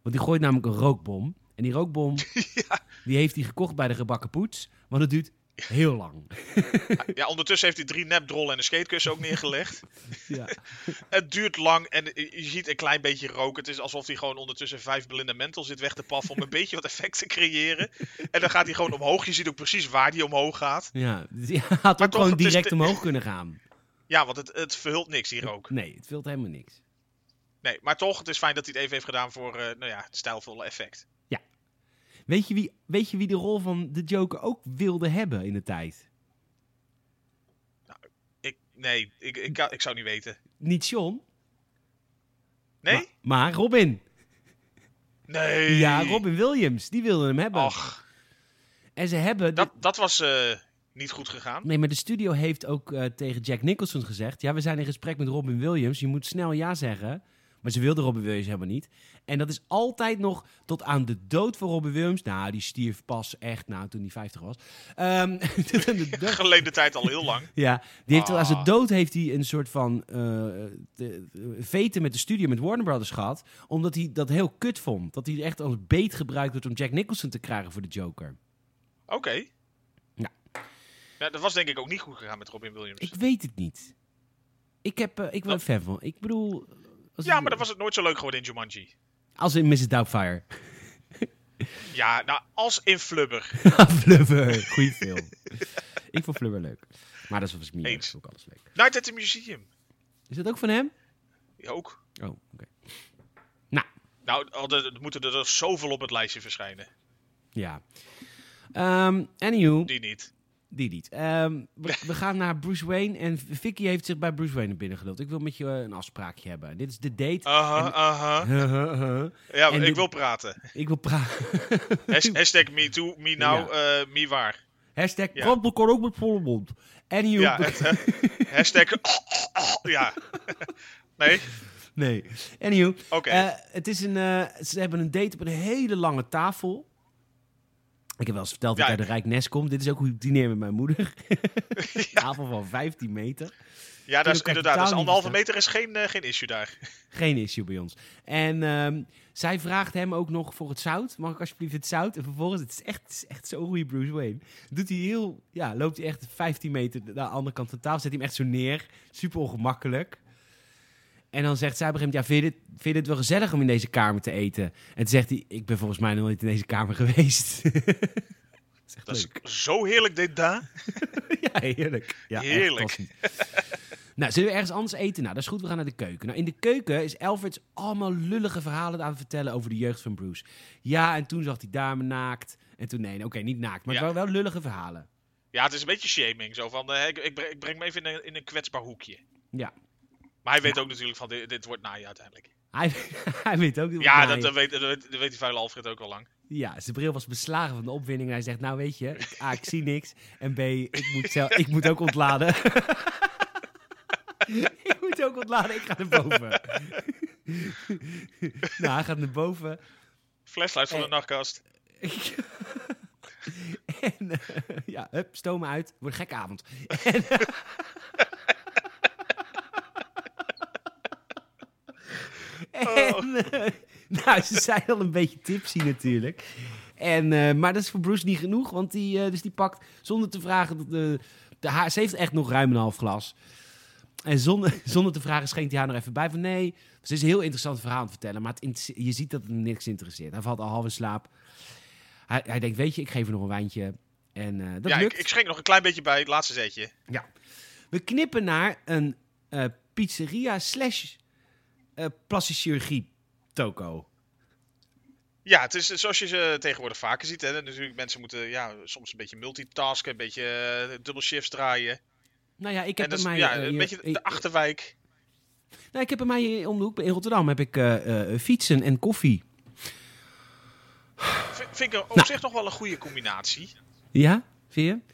Want die gooit namelijk een rookbom. En die *laughs* rookbom die heeft hij gekocht bij de gebakken poets. Want het duurt heel lang. Ja, ondertussen heeft hij drie nepdrollen en een skatekussen ook neergelegd. Ja. Het duurt lang en je ziet een klein beetje rook. Het is alsof hij gewoon ondertussen vijf Belinda Mental zit weg te *laughs* paffen om een beetje wat effect te creëren. En dan gaat hij gewoon omhoog. Je ziet ook precies waar hij omhoog gaat. ja. Dus je had ook toch, gewoon het is direct de- omhoog kunnen gaan. Ja, want het, het verhult niks hier ook. Nee, het vult helemaal niks. Nee, maar toch, het is fijn dat hij het even heeft gedaan voor eh, nou ja, het stijlvolle effect. Weet je, wie, weet je wie de rol van de Joker ook wilde hebben in de tijd? Ik, nee, ik, ik, kan- ik zou niet weten. Niet John, Nee? maar, maar Robin. Nee. Ja, Robin Williams. Die wilde hem hebben. Ach, En ze hebben... dat, dat was eh, niet goed gegaan. Nee, maar de studio heeft ook eh, tegen Jack Nicholson gezegd... Ja, we zijn in gesprek met Robin Williams. Je moet snel ja zeggen. Maar ze wilde Robin Williams helemaal niet. En dat is altijd nog tot aan de dood van Robin Williams. Nou, die stierf pas echt, nou, toen hij 50 was. Ehm, *laughs* tot aan de dood. Geleden tijd al heel *laughs* lang. Ja, die heeft, Ah. als het dood heeft hij een soort van eh, de- de- veten met de studio, met Warner Brothers gehad. Omdat hij dat heel kut vond. Dat hij echt als beet gebruikt wordt om Jack Nicholson te krijgen voor de Joker. Oké. Ja. Ja, dat was denk ik ook niet goed gegaan met Robin Williams. Ik weet het niet. Ik, heb, eh, ik ben Dat- fan van. Ik bedoel... Als Ja, maar dan was het nooit zo leuk geworden in Jumanji. Als in Mrs. Doubtfire. *laughs* Ja, nou, als in Flubber. Flubber. Goeie film. ik vond Flubber leuk. Maar dat was meer. Eens. Dat ook alles leuk. Night at the Museum. Is dat ook van hem? Ja, Ook. Oh, oké. Nou, al er er moeten er nog zoveel op het lijstje verschijnen. Ja. Ehm anywho. Die niet. Die niet. Ehm, we, we gaan naar Bruce Wayne. En Vicky heeft zich bij Bruce Wayne naar binnen geduld. Ik wil met je eh, een afspraakje hebben. Dit is de *laughs* date. Aha, En- aha. Ja, En ik die- wil praten. Ik wil praten. *laughs* Has- hashtag me too, me now, eh, me waar. Hashtag Ja. Krampel kon ook met volle mond. Anywho. Ja, het, eh, *laughs* hashtag... ja. nee, *laughs* nee. Anywho. oké. Eh, het is een, eh, ze hebben een date op een hele lange tafel. Ik heb wel eens verteld dat Ja, ik *laughs* *laughs* uit de Rijknes kom. Dit is ook hoe ik dineer met mijn moeder. Een tafel van 15 meter. Ja, dat is, Tuurlijk kan je inderdaad. Dat is taal niet anderhalve verstaan. meter is geen, eh, geen issue daar. Geen issue bij ons. En ehm, zij vraagt hem ook nog voor het zout. Mag ik alsjeblieft het zout? En vervolgens, het is echt, het is echt zo'n goede Bruce Wayne. Doet hij heel, ja, loopt hij echt 15 meter naar de andere kant van de tafel. Zet hij hem echt zo neer. Super ongemakkelijk. En dan zegt zij op een gegeven moment, ja, vind je, dit, vind je dit wel gezellig om in deze kamer te eten? En toen zegt hij, ik ben volgens mij nog nooit in deze kamer geweest. *laughs* dat is echt Dat leuk. is zo heerlijk dit daar. *laughs* Ja, heerlijk. Ja, echt Heerlijk. fantastisch. nou, zullen we ergens anders eten? Nou, dat is goed. We gaan naar de keuken. Nou, in de keuken is Alfreds allemaal lullige verhalen aan het vertellen over de jeugd van Bruce. Ja, en toen zag die dame naakt. En toen, nee, oké, niet naakt, maar het Ja. waren wel lullige verhalen. Ja, het is een beetje shaming. Zo van, eh, ik, ik, breng, ik breng hem even in een, in een kwetsbaar hoekje. Ja. Maar hij weet ook natuurlijk van, dit, dit wordt naai uiteindelijk. Hij, *laughs* hij weet ook niet Ja, wat dat, eh, hij- dat weet, dat, weet, dat weet die vuile Alfred ook al lang. ja, zijn bril was beslagen van de opwinding. En hij zegt, nou weet je, A, ik zie niks. En B, ik moet, zelf, ik moet ook ontladen. *laughs* ik moet ook ontladen, ik ga naar boven. *laughs* nou, hij gaat naar boven. Flashlight van de Eh. nachtkast. *laughs* en eh, ja, hup, stoom uit. Wordt een gekke avond. En, *laughs* En, eh, nou, ze zijn al een beetje tipsy natuurlijk. En, eh, maar dat is voor Bruce niet genoeg, want die, eh, dus die pakt zonder te vragen... dat De, de, haar, ze heeft echt nog ruim een half glas. En zonder, *laughs* zonder te vragen schenkt hij haar nog even bij van... nee, ze is een heel interessant verhaal aan het vertellen... maar het inter- je ziet dat het hem niks interesseert. Hij valt al half in slaap. Hij, hij denkt, weet je, ik geef er nog een wijntje. En eh, dat Ja, lukt. ik, ik schenk nog een klein beetje bij het laatste zetje. Ja. We knippen naar een eh, pizzeria slash eh plastische chirurgie toko. Ja, het is eh, zoals je ze tegenwoordig vaker ziet. Hè. Natuurlijk, mensen moeten ja, soms een beetje multitasken, een beetje eh, dubbel shifts draaien. Nou ja, ik En heb dat bij is mij... ja, eh, een hier- beetje de- eh, de achterwijk. nou, ik heb bij mij hier om de hoek in Rotterdam heb ik eh, eh, fietsen en koffie. V- vind ik op Nou. zich nog wel een goede combinatie. Ja, vind je?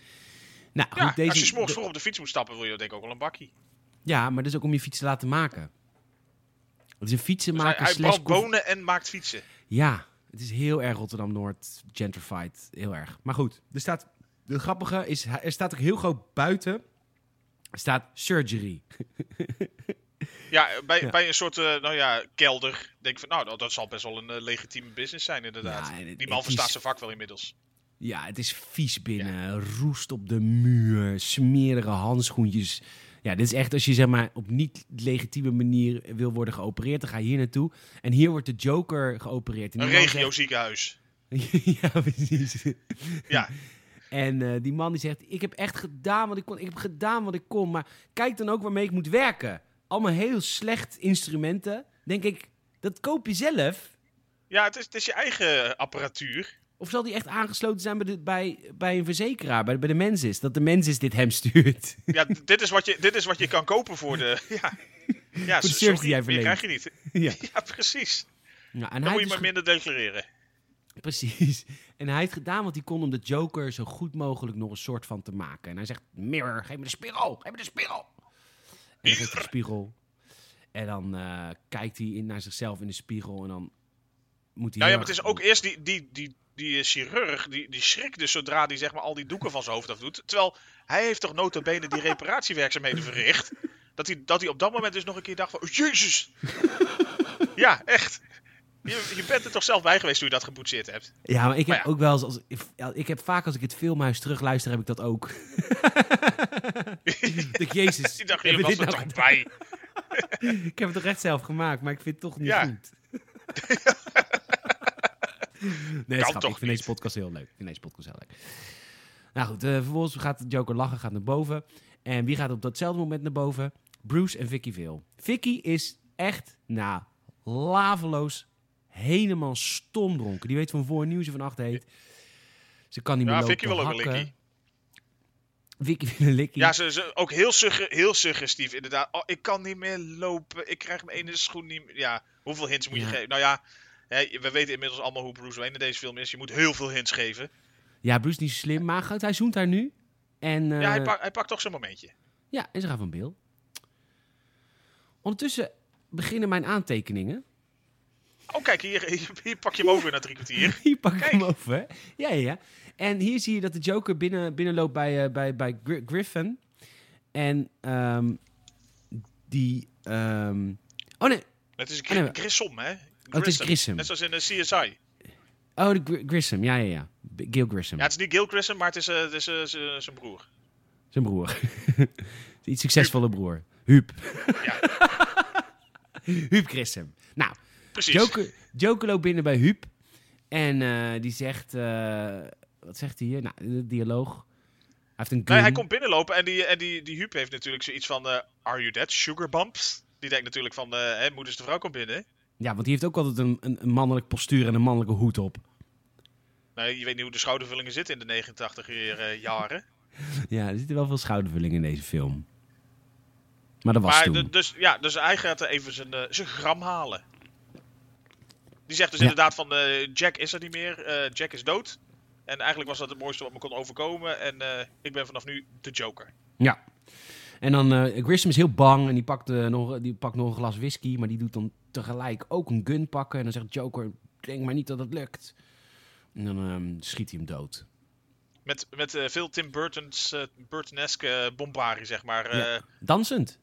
Nou, Ja, goed, deze, als je s'morgens de- vroeg op de fiets moet stappen, wil je denk ik ook wel een bakkie. ja, maar dat is ook om je fiets te laten maken. Het is een Dus hij, fietsenmaker hij slash brandt koffie. bonen en maakt fietsen. Ja, het is heel erg Rotterdam-Noord gentrified. Heel erg. Maar goed, er staat... Het grappige is, er staat ook heel groot buiten... Er staat surgery. Ja, eh, bij, Ja. bij een soort eh, nou ja, kelder denk ik van, nou, dat, dat zal best wel een eh, legitieme business zijn inderdaad. Ja, en het- Die man het verstaat is- zijn vak wel inmiddels. Ja, het is vies binnen. Roest op de muur. Smerige handschoentjes. Ja, dit is echt als je zeg maar op niet legitieme manier wil worden geopereerd. Dan ga je hier naartoe. En hier wordt de Joker geopereerd. En Een die man zegt- *laughs* regioziekenhuis. ja, precies. Ja, En eh, die man die zegt: Ik heb echt gedaan wat ik kon. Ik heb gedaan wat ik kon. Maar kijk dan ook waarmee ik moet werken. Allemaal heel slecht instrumenten. Denk ik, dat koop je zelf. ja het, is, het is je eigen apparatuur. Of zal die echt aangesloten zijn bij, de, bij, bij een verzekeraar, bij, bij de Mensis? Dat de Mensis dit hem stuurt. *laughs* Ja, d- dit, is wat je, dit is wat je kan kopen voor de... *laughs* Ja, ja de zo- service zo- die jij meer verleent. krijg je niet. *laughs* ja. Ja, precies. Ja, en Dan hij moet je heeft maar dus minder declareren. ge- *laughs* Precies. En hij heeft gedaan wat hij kon om de Joker zo goed mogelijk nog een soort van te maken. En hij zegt, mirror, geef me de spiegel, geef me de spiegel. En dan geeft hij de spiegel. En dan eh, kijkt hij in, naar zichzelf in de spiegel en dan moet hij... Nou ja, heel maar het is erg- ook eerst die, die, die, die eh, chirurg, die, die schrikt dus zodra die zeg maar al die doeken van zijn hoofd af doet. Terwijl hij heeft toch nota bene die reparatiewerkzaamheden verricht. Dat hij, dat hij op dat moment dus nog een keer dacht van, oh, jezus! *laughs* ja, echt. Je, je bent er toch zelf bij geweest toen je dat geboetseerd hebt? Ja, maar ik heb Maar ja. ook wel eens... Als, ik- ja, ik heb vaak als ik het filmhuis terugluister, heb ik dat *laughs* ook. *laughs* dat ik, jezus, Die dacht, heb je ik was dit er nou gedaan? *laughs* toch bij? Ik heb het toch echt zelf gemaakt, maar ik vind het toch niet Ja. *laughs* goed. nee, Kan schat, toch ik vind niet? deze podcast heel leuk. Ik vind deze podcast heel leuk. Nou goed, eh, vervolgens gaat Joker lachen, gaat naar boven. En wie gaat op datzelfde moment naar boven? Bruce en Vicky Veel. Vicky is echt, nou, laveloos helemaal stomdronken. Die weet van voor nieuws en van achter heet. Ze kan niet meer Ja, lopen, Vicky wil ook een hakken. likkie. Vicky wil een likkie. Ja, ze, ze, ook heel, sugge- heel suggestief inderdaad. Oh, ik kan niet meer lopen, ik krijg mijn ene schoen niet meer. Ja, hoeveel hints moet je Ja. geven? Nou ja, hè, we weten inmiddels allemaal hoe Bruce Wayne in deze film is. Je moet heel veel hints geven. ja, Bruce is niet zo slim, maar goed, hij zoent haar nu. En, Ja, hij, eh, pak- hij pakt toch zijn momentje. Ja, en ze gaan van Bill. Ondertussen beginnen mijn *laughs* aantekeningen. Oh, kijk, hier, *laughs* hier, hier pak je hem over na drie kwartier. Hier pak ik Kijk. hem over. hè. Ja, ja, ja. En hier zie je dat de Joker binnen, binnenloopt bij, eh, bij, bij Gri- Griffin. En ehm, die... ehm, Oh nee, Het is Oh, nee, gr- maar- Grissom, hè? het is Grissom. Net zoals in de CSI. oh de Gr- Grissom, ja, ja, ja. B- Gil Grissom, Ja, het is niet Gil Grissom, maar het is, eh, het is eh, z- zijn broer. zijn broer. *laughs* Iets succesvolle broer. Huub. *laughs* Huub Grissom. Nou, Precies. Joker, Joker loopt binnen bij Huub. En eh, die zegt... eh, wat zegt hij hier? Nou, de dialoog. Hij heeft een gun. Nee, hij komt binnenlopen en die, en die, die Huub heeft natuurlijk zoiets van... eh, Are you dead, sugar bumps? Die denkt natuurlijk van, eh, hè, moeders de vrouw komt binnen. Ja, want die heeft ook altijd een, een, een mannelijk postuur en een mannelijke hoed op. Nou, je weet niet hoe de schoudervullingen zitten in de 89 jaar, eh, jaren. Ja, er zitten wel veel schoudervullingen in deze film. Maar dat was Maar toen. de- dus, ja, dus hij gaat er even zijn, eh, zijn gram halen. Die zegt dus Ja. inderdaad van, eh, Jack is er niet meer, eh, Jack is dood. En eigenlijk was dat het mooiste wat me kon overkomen. En eh, ik ben vanaf nu de Joker. Ja. En dan, eh Grissom is heel bang en die pakt, eh, nog, die pakt nog een glas whisky, maar die doet dan tegelijk ook een gun pakken. En dan zegt Joker, denk maar niet dat het lukt. En dan ehm, schiet hij hem dood. Met, met eh, veel Tim Burton's, eh Burtoneske eh, bombarie, zeg maar. Ja. Eh, Dansend.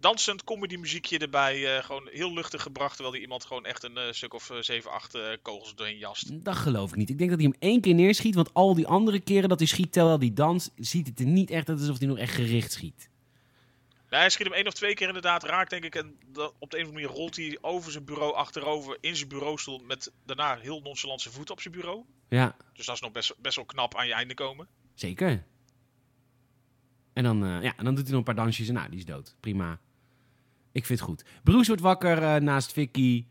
dansend comedy muziekje erbij. eh, gewoon heel luchtig gebracht. Terwijl die iemand gewoon echt een eh, stuk of eh, 7, 8 eh, kogels doorheen jast. Dat geloof ik niet. Ik denk dat hij hem één keer neerschiet, want al die andere keren dat hij schiet terwijl hij danst, ziet het er niet echt uit alsof hij nog echt gericht schiet. Nou, hij schiet hem één of twee keer inderdaad raak, denk ik. En dat, op de een of andere manier rolt hij over zijn bureau achterover in zijn bureaustoel. Met daarna heel nonchalant zijn voet op zijn bureau. Ja, Dus dat is nog best, best wel knap aan je einde komen. zeker. En dan, eh, ja, en dan doet hij nog een paar dansjes en nou, die is dood. Prima. Ik vind het goed. Bruce wordt wakker eh, naast Vicky.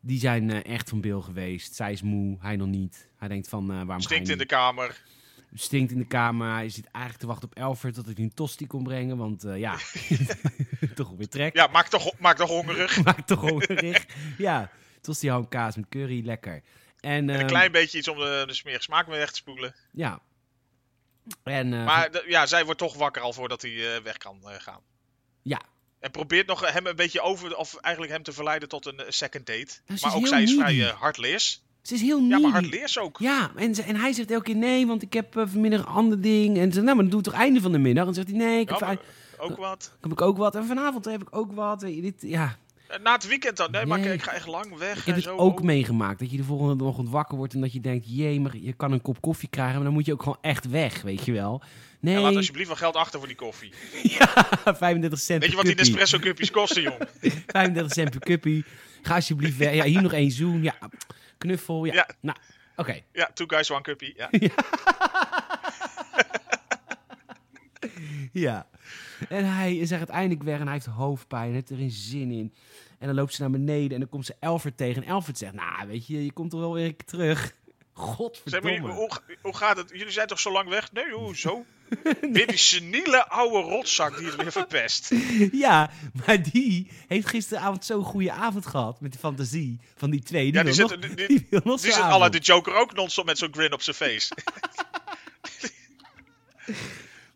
Die zijn eh, echt van Bill geweest. Zij is moe, hij nog niet. Hij denkt van, eh, waarom Stinkt hij in de kamer. niet? Stinkt in de kamer. Hij zit eigenlijk te wachten op Alfred dat hij een tosti kon brengen. Want eh, *laughs* ja, *laughs* toch weer trek. Ja, maakt toch, maakt toch hongerig. *laughs* Maakt toch hongerig. ja, tosti hamkaas met curry, lekker. En, En ehm, een klein beetje iets om de, de smerige smaak mee weg te spoelen. Ja. En, eh, Maar d- ja, zij wordt toch wakker al voordat hij eh, weg kan eh, gaan. Ja. En probeert nog hem een beetje over, of eigenlijk hem te verleiden tot een eh, second date. ze is dus maar ook heel zij is vrij needy. eh, hardleers. ze is heel nieuw. Ja, maar hardleers ook. Ja, en, ze- en hij zegt elke keer nee, want ik heb eh, vanmiddag een ander ding. En ze nou, maar dan doe het toch einde van de middag. En dan zegt hij nee, ik heb, Ja, van- maar ook wat. heb ik ook wat. En vanavond heb ik ook wat. En dit, ja. Eh, Na het weekend dan. Nee, maar Nee. ik, ik ga echt lang weg. Ik heb en het zo. ook Oh, meegemaakt. Dat je de volgende ochtend wakker wordt en dat je denkt, jee, maar je kan een kop koffie krijgen. Maar dan moet je ook gewoon echt weg, weet je wel. en Nee, *laughs* laat alsjeblieft wel geld achter voor die koffie. 35 cent Weet per je wat die cuppie. Nespresso cupjes *laughs* kosten, jong? 35 cent per cuppie. Ga alsjeblieft weg. Ja, hier nog één zoen. Ja, knuffel. Ja, Ja. nou, oké. Ja, two guys, one cuppie. *laughs* Ja. Ja. En hij is er uiteindelijk weg en hij heeft hoofdpijn en heeft er geen zin in. En dan loopt ze naar beneden en dan komt ze Alfred tegen. En Alfred zegt, nou weet je, je komt toch wel weer een keer terug. Zeg maar, Godverdomme. hoe, hoe gaat het? Jullie zijn toch zo lang weg? Nee, *laughs* hoe zo? Weer die seniele oude rotzak die het weer *laughs* verpest. Ja, maar die heeft gisteravond zo'n goede avond gehad met de fantasie van die twee. Die Ja, wil die nog, zitten- die- die wil nog Die zo'n zit alle avond. de Joker ook non-stop met zo'n grin op zijn *laughs* face.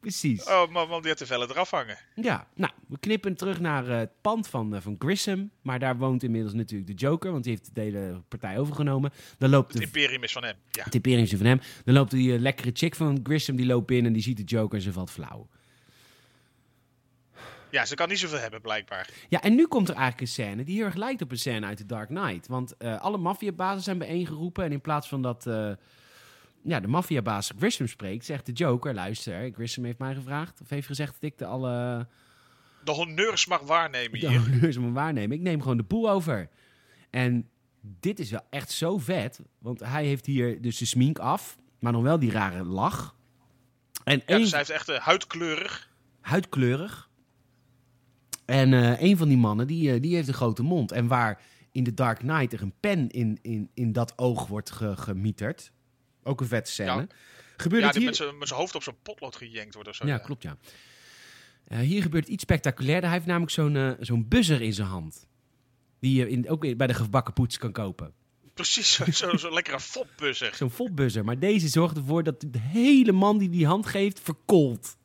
Precies. Oh man, man die had te vellen eraf hangen. Ja, nou, we knippen terug naar eh, het pand van, eh, van Grissom. Maar daar woont inmiddels natuurlijk de Joker, want die heeft de hele partij overgenomen. Dan loopt Het de imperium is van hem. Ja. Het imperium is van hem. Dan loopt die eh, lekkere chick van Grissom, die loopt binnen en die ziet de Joker en ze valt flauw. ja, ze kan niet zoveel hebben blijkbaar. Ja, en nu komt er eigenlijk een scène die heel erg lijkt op een scène uit The Dark Knight. Want eh, alle maffiabazen zijn bijeengeroepen en in plaats van dat eh, ja, de maffiabaas Grissom spreekt, zegt de Joker, luister, Grissom heeft mij gevraagd, of heeft gezegd dat ik de alle De honneurs mag waarnemen de *laughs* hier. dus honneurs moet waarnemen. Ik neem gewoon de boel over. En dit is wel echt zo vet, want hij heeft hier dus de smink af, maar nog wel die rare lach. En Ja, één- dus hij heeft echt eh, huidkleurig. huidkleurig. En eh, een van die mannen, die, eh, die heeft een grote mond. En waar in The Dark Knight er een pen in, in, in dat oog wordt ge- gemieterd. Ook een vette scène. Ja. Gebeurt Ja, het die hier... met zijn met zijn hoofd op zijn potlood gejenkt wordt of zo. Ja, klopt, ja. Eh, hier gebeurt iets spectaculairder. Hij heeft namelijk zo'n eh, zo'n buzzer in zijn hand. Die je in, ook bij de gebakken poets kan kopen. Precies, zo- zo'n zo lekkere fopbusser. Zo'n fopbuzzer. Maar deze zorgt ervoor dat de hele man die die hand geeft, verkoolt.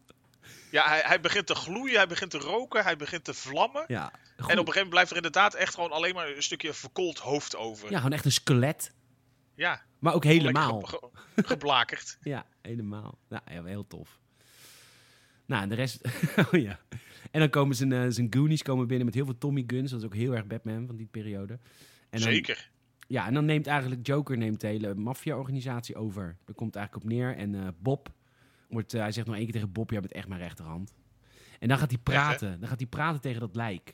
Ja, hij, hij begint te gloeien, hij begint te roken, hij begint te vlammen. Ja, goed. En op een gegeven moment blijft er inderdaad echt gewoon alleen maar een stukje verkoold hoofd over. ja, gewoon echt een skelet. Ja, Maar ook gewoon lekker helemaal. ge- ge- geblakerd. Ja, helemaal. Nou, ja, heel tof. Nou, en de rest... *laughs* oh ja. En dan komen zijn, eh, zijn Goonies komen binnen met heel veel Tommy Guns. Dat is ook heel erg Batman van die periode. *laughs* En dan- Zeker. Ja, en dan neemt eigenlijk Joker neemt de hele maffia-organisatie over. Daar komt het eigenlijk op neer. En eh, Bob, wordt, eh, hij zegt nog één keer tegen Bob, jij bent echt mijn rechterhand. En dan gaat hij Echt, hè? praten. Dan gaat hij praten tegen dat lijk.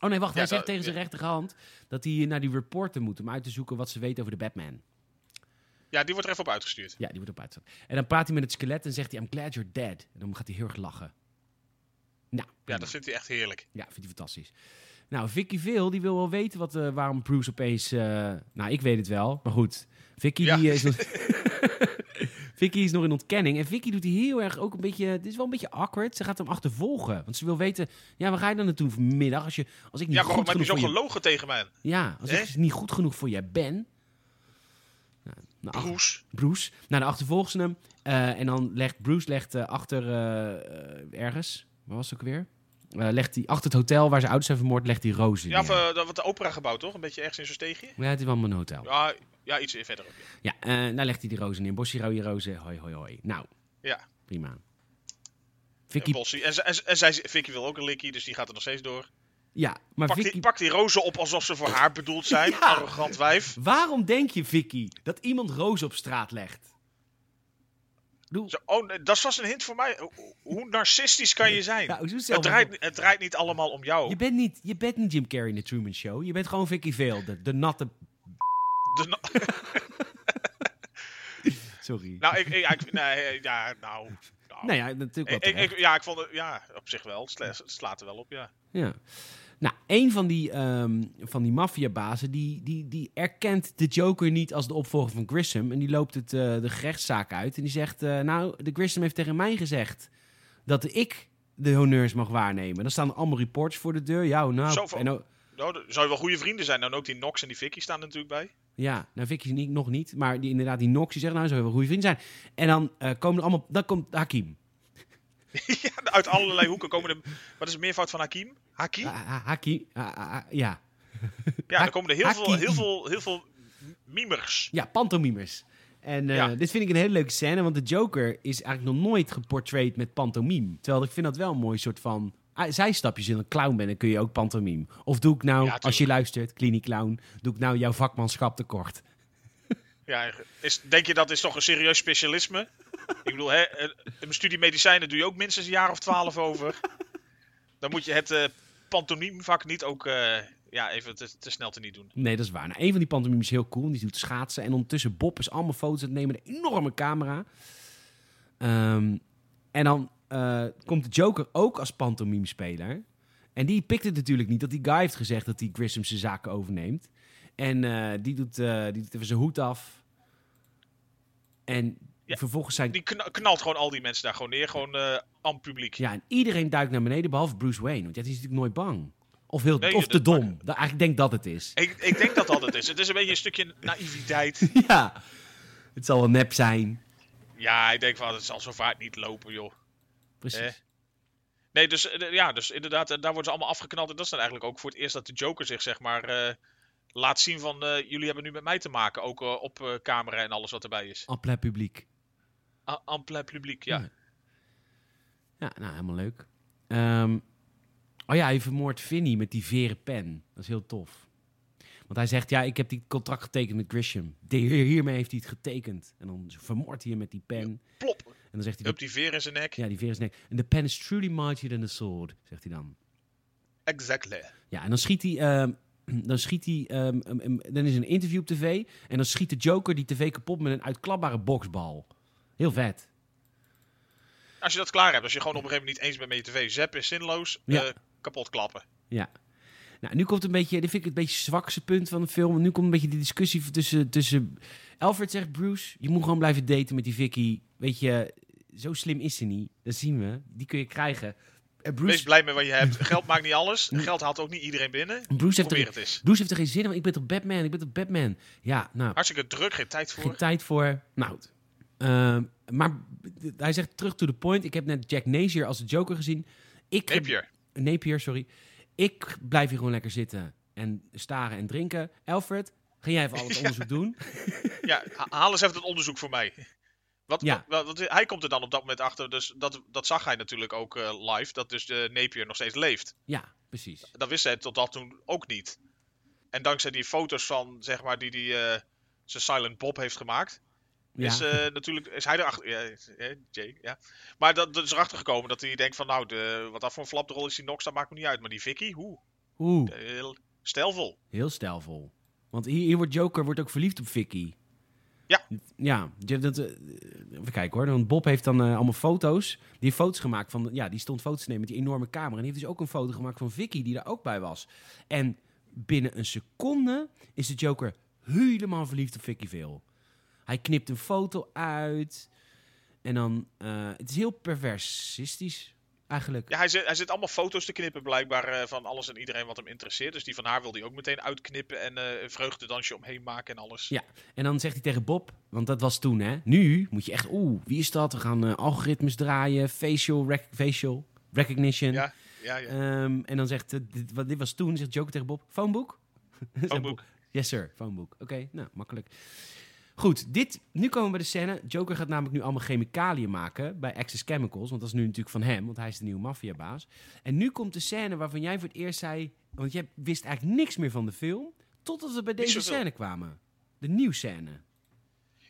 Oh nee, wacht. Ja, hij zegt dat- tegen zijn ja. rechterhand dat hij naar die reporter moet om uit te zoeken wat ze weten over de Batman. Ja, die wordt er even op uitgestuurd. Ja, die wordt op uitgezet. En dan praat hij met het skelet en zegt hij, I'm glad you're dead. En dan gaat hij heel erg lachen. Nou, Ja, prima. dat vindt hij echt heerlijk. Ja, vindt hij fantastisch. Nou, Vicky Veel, die wil wel weten wat, eh, waarom Bruce opeens... eh, nou, ik weet het wel, maar goed. Vicky, Ja. die, eh, is *laughs* nog... Vicky is nog in ontkenning. En Vicky doet hij heel erg ook een beetje... Het is wel een beetje awkward. Ze gaat hem achtervolgen. Want ze wil weten... Ja, waar ga je dan naartoe vanmiddag? Als, je, als ik niet Ja, goed waarom heb je genoeg zo voor je... gelogen tegen mij? Ja, als Hè? ik niet goed genoeg voor je ben... Nou, nou, ach- Bruce. Bruce. Nou, dan achtervolgen ze hem. Eh, en dan legt Bruce legt, eh, achter eh, eh, ergens. Waar was het ook weer? Eh, legt hij achter het hotel waar zijn ouders zijn vermoord, legt hij rozen. Ja, Ja, of eh, dat wordt de opera gebouwd, toch? Een beetje ergens in zo'n steegje? ja, het is wel mijn hotel. Ja, ja iets verder ook. ja. Ja, eh nou legt hij die rozen in. Bosje rode rozen. Hoi, hoi, hoi. Nou, Ja, prima. Vicky... Vicky, En, ze- en, ze- en zij, Vicky wil ook een likkie, dus die gaat er nog steeds door. ja, maar Pak Vicky, die, pak die rozen op alsof ze voor haar bedoeld zijn. Ja. Arrogant wijf. waarom denk je, Vicky, dat iemand rozen op straat legt? Doe, Zo, oh, nee, dat was een hint voor mij. Hoe, hoe narcistisch kan je zijn? ja, hoezo Nou, zelf- het, draait, het draait niet allemaal om jou. je, bent niet, je bent niet Jim Carrey in de Truman Show. Je bent gewoon Vicky Vale, de, de natte... De na- *laughs* Sorry. nou, ik, ik, ja, ik- nee, ja, nou. nou. nou ja, natuurlijk wel ik, ik- terecht. ik- ja, ik vond het, ja, op zich wel. Het sla- het slaat er wel op, ja. Ja. Nou, een van die, ehm van die maffiabazen die, die, die erkent de Joker niet als de opvolger van Grissom. En die loopt het, eh, de gerechtszaak uit en die zegt... eh, nou, de Grissom heeft tegen mij gezegd dat ik de honneurs mag waarnemen. Dan staan er allemaal reports voor de deur. Ja, nou... Zoveel. En, ook- Nou, dan zou je wel goede vrienden zijn. Dan ook die Nox en die Vicky staan er natuurlijk bij. ja, nou Vicky niet, nog niet. Maar die, inderdaad, die Nox, die zegt nou, zou je wel een goede vriend zijn. En dan eh, komen er allemaal... Dan komt Hakim. *laughs* ja, uit allerlei hoeken komen er... Wat is het meervoud van Hakim? Hakim? Ah, ah, Hakim, ah, ah, ah, ja. Ja, er komen er heel veel, Hakim. heel veel, heel veel mimers. Ja, pantomimers. En eh, Ja. dit vind ik een hele leuke scène, want de Joker is eigenlijk nog nooit geportrayed met pantomime. Terwijl ik vind dat wel een mooi soort van... ah, zijstapjes in een clown ben, dan kun je ook pantomime. Of doe ik nou, Ja, tuurlijk. als je luistert, kliniek clown, doe ik nou jouw vakmanschap tekort. Ja, is, denk je dat is toch een serieus specialisme? ik bedoel, hè, eh, een studie medicijnen doe je ook minstens een jaar of twaalf over. Dan moet je het eh pantonimevak niet ook eh, ja, even te, te snel te niet doen. Nee, dat is waar. Nou, een van die pantomimes is heel cool, die doet schaatsen. En ondertussen Bob is allemaal foto's aan het nemen, met een enorme camera. Ehm, en dan eh, komt de Joker ook als pantomimespeler. En die pikt het natuurlijk niet dat die guy heeft gezegd dat die Grissom zijn zaken overneemt. En eh, die, doet, eh, die doet even zijn hoed af. En Ja, vervolgens zijn... Die kna- knalt gewoon al die mensen daar gewoon neer, gewoon eh aan publiek. Ja, en iedereen duikt naar beneden, behalve Bruce Wayne. Want ja, die is natuurlijk nooit bang. Of, heel, Nee, of te dat- dom. Da- eigenlijk denk ik dat het is. *laughs* Ik, ik denk dat dat het is. Het is een beetje een stukje naïviteit. ja, het zal wel nep zijn. Ja, ik denk van, het zal zo vaak niet lopen, joh. Precies. Eh. Nee, dus, eh, ja, dus inderdaad, eh, daar worden ze allemaal afgeknald. En dat is dan eigenlijk ook voor het eerst dat de Joker zich, zeg maar, eh, laat zien van... eh, jullie hebben nu met mij te maken, ook eh, op eh, camera en alles wat erbij is. Appel publiek. A- en plein publiek, ja. Ja. Ja, nou, helemaal leuk. Ehm, oh ja, hij vermoordt Vinnie met die veren pen. Dat is heel tof. Want hij zegt, ja, ik heb die contract getekend met Grisham. De- hier- hiermee heeft hij het getekend. En dan vermoordt hij hem met die pen. En Plop, dan zegt hij, up die veer in zijn nek. ja, die veer is nek. En the pen is truly mightier than the sword, zegt hij dan. Exactly. Ja, en dan schiet hij... ehm, *clears throat* dan schiet hij, ehm, ehm, ehm, dan is er een interview op tv en dan schiet de Joker die tv kapot met een uitklapbare boksbal. Heel vet. Als je dat klaar hebt, als je gewoon op een gegeven moment niet eens bent met je tv... Zep is zinloos, Ja. eh, kapot klappen. Ja. Nou, nu komt een beetje, dit vind ik het beetje zwakste punt van de film. Want Nu komt een beetje die discussie tussen, tussen... Alfred zegt, Bruce, je moet gewoon blijven daten met die Vicky. Weet je, zo slim is ze niet. Dat zien we. Die kun je krijgen. En Wees Bruce, blij met wat je *laughs* hebt. Geld maakt niet alles. Geld haalt ook niet iedereen binnen. Bruce, heeft Probeer er, het eens. Bruce heeft er geen zin in, want ik ben toch Batman? Ik ben toch Batman? Ja, nou, Hartstikke druk, geen tijd geen voor. tijd voor. Nou, goed. Ehm, maar d- hij zegt, terug to the point. Ik heb net Jack Napier als de Joker gezien. Ik heb- Napier. Napier, sorry. Ik blijf hier gewoon lekker zitten en staren en drinken. Alfred, ga jij even al het onderzoek doen? Ja, ha- haal eens even het onderzoek voor mij. Wat, Ja. wat- wat- hij komt er dan op dat moment achter, dus dat, dat zag hij natuurlijk ook eh, live, dat dus de Napier nog steeds leeft. Ja, precies. Dat wist hij tot dat toen ook niet. En dankzij die foto's van, zeg maar, die, die eh, zijn Silent Bob heeft gemaakt, Ja. is eh, natuurlijk is hij erachter. Ja, eh, Jay, ja. Maar dat, dat is erachter gekomen dat hij denkt van, nou, de, wat dat voor een flapdrol is die Nox, dat maakt me niet uit. Maar die Vicky, hoe? Oeh, Heel stijlvol. heel stijlvol. Want hier, hier wordt Joker wordt ook verliefd op Vicky. Ja. Ja, je- dat, eh, even kijken hoor. Want Bob heeft dan eh, allemaal foto's. Die heeft foto's gemaakt van... Ja, die stond foto's te nemen met die enorme camera. En die heeft dus ook een foto gemaakt van Vicky, die daar ook bij was. En binnen een seconde is de Joker helemaal verliefd op Vicky Veel. Hij knipt een foto uit. En dan... eh, het is heel perversistisch, eigenlijk. Ja, hij zit, hij zit allemaal foto's te knippen blijkbaar eh, van alles en iedereen wat hem interesseert. Dus die van haar wil hij ook meteen uitknippen en eh, een vreugdedansje omheen maken en alles. Ja. En dan zegt hij tegen Bob, want dat was toen hè. Nu moet je echt, oeh, wie is dat? We gaan eh, algoritmes draaien, facial, rec- facial recognition. Ja, *laughs* ja, ja. Ehm, en dan zegt, eh, dit, wat, dit was toen, zegt Joker tegen Bob, phoneboek? Zegt Phoneboek. Bob, Yes sir, phoneboek. Oké, nou, makkelijk. Goed, dit, nu komen we bij de scène. Joker gaat namelijk nu allemaal chemicaliën maken bij Access Chemicals. Want dat is nu natuurlijk van hem, want hij is de nieuwe maffiabaas. En nu komt de scène waarvan jij voor het eerst zei... Want jij wist eigenlijk niks meer van de film, totdat we bij deze zoveel. scène kwamen. De nieuwscène.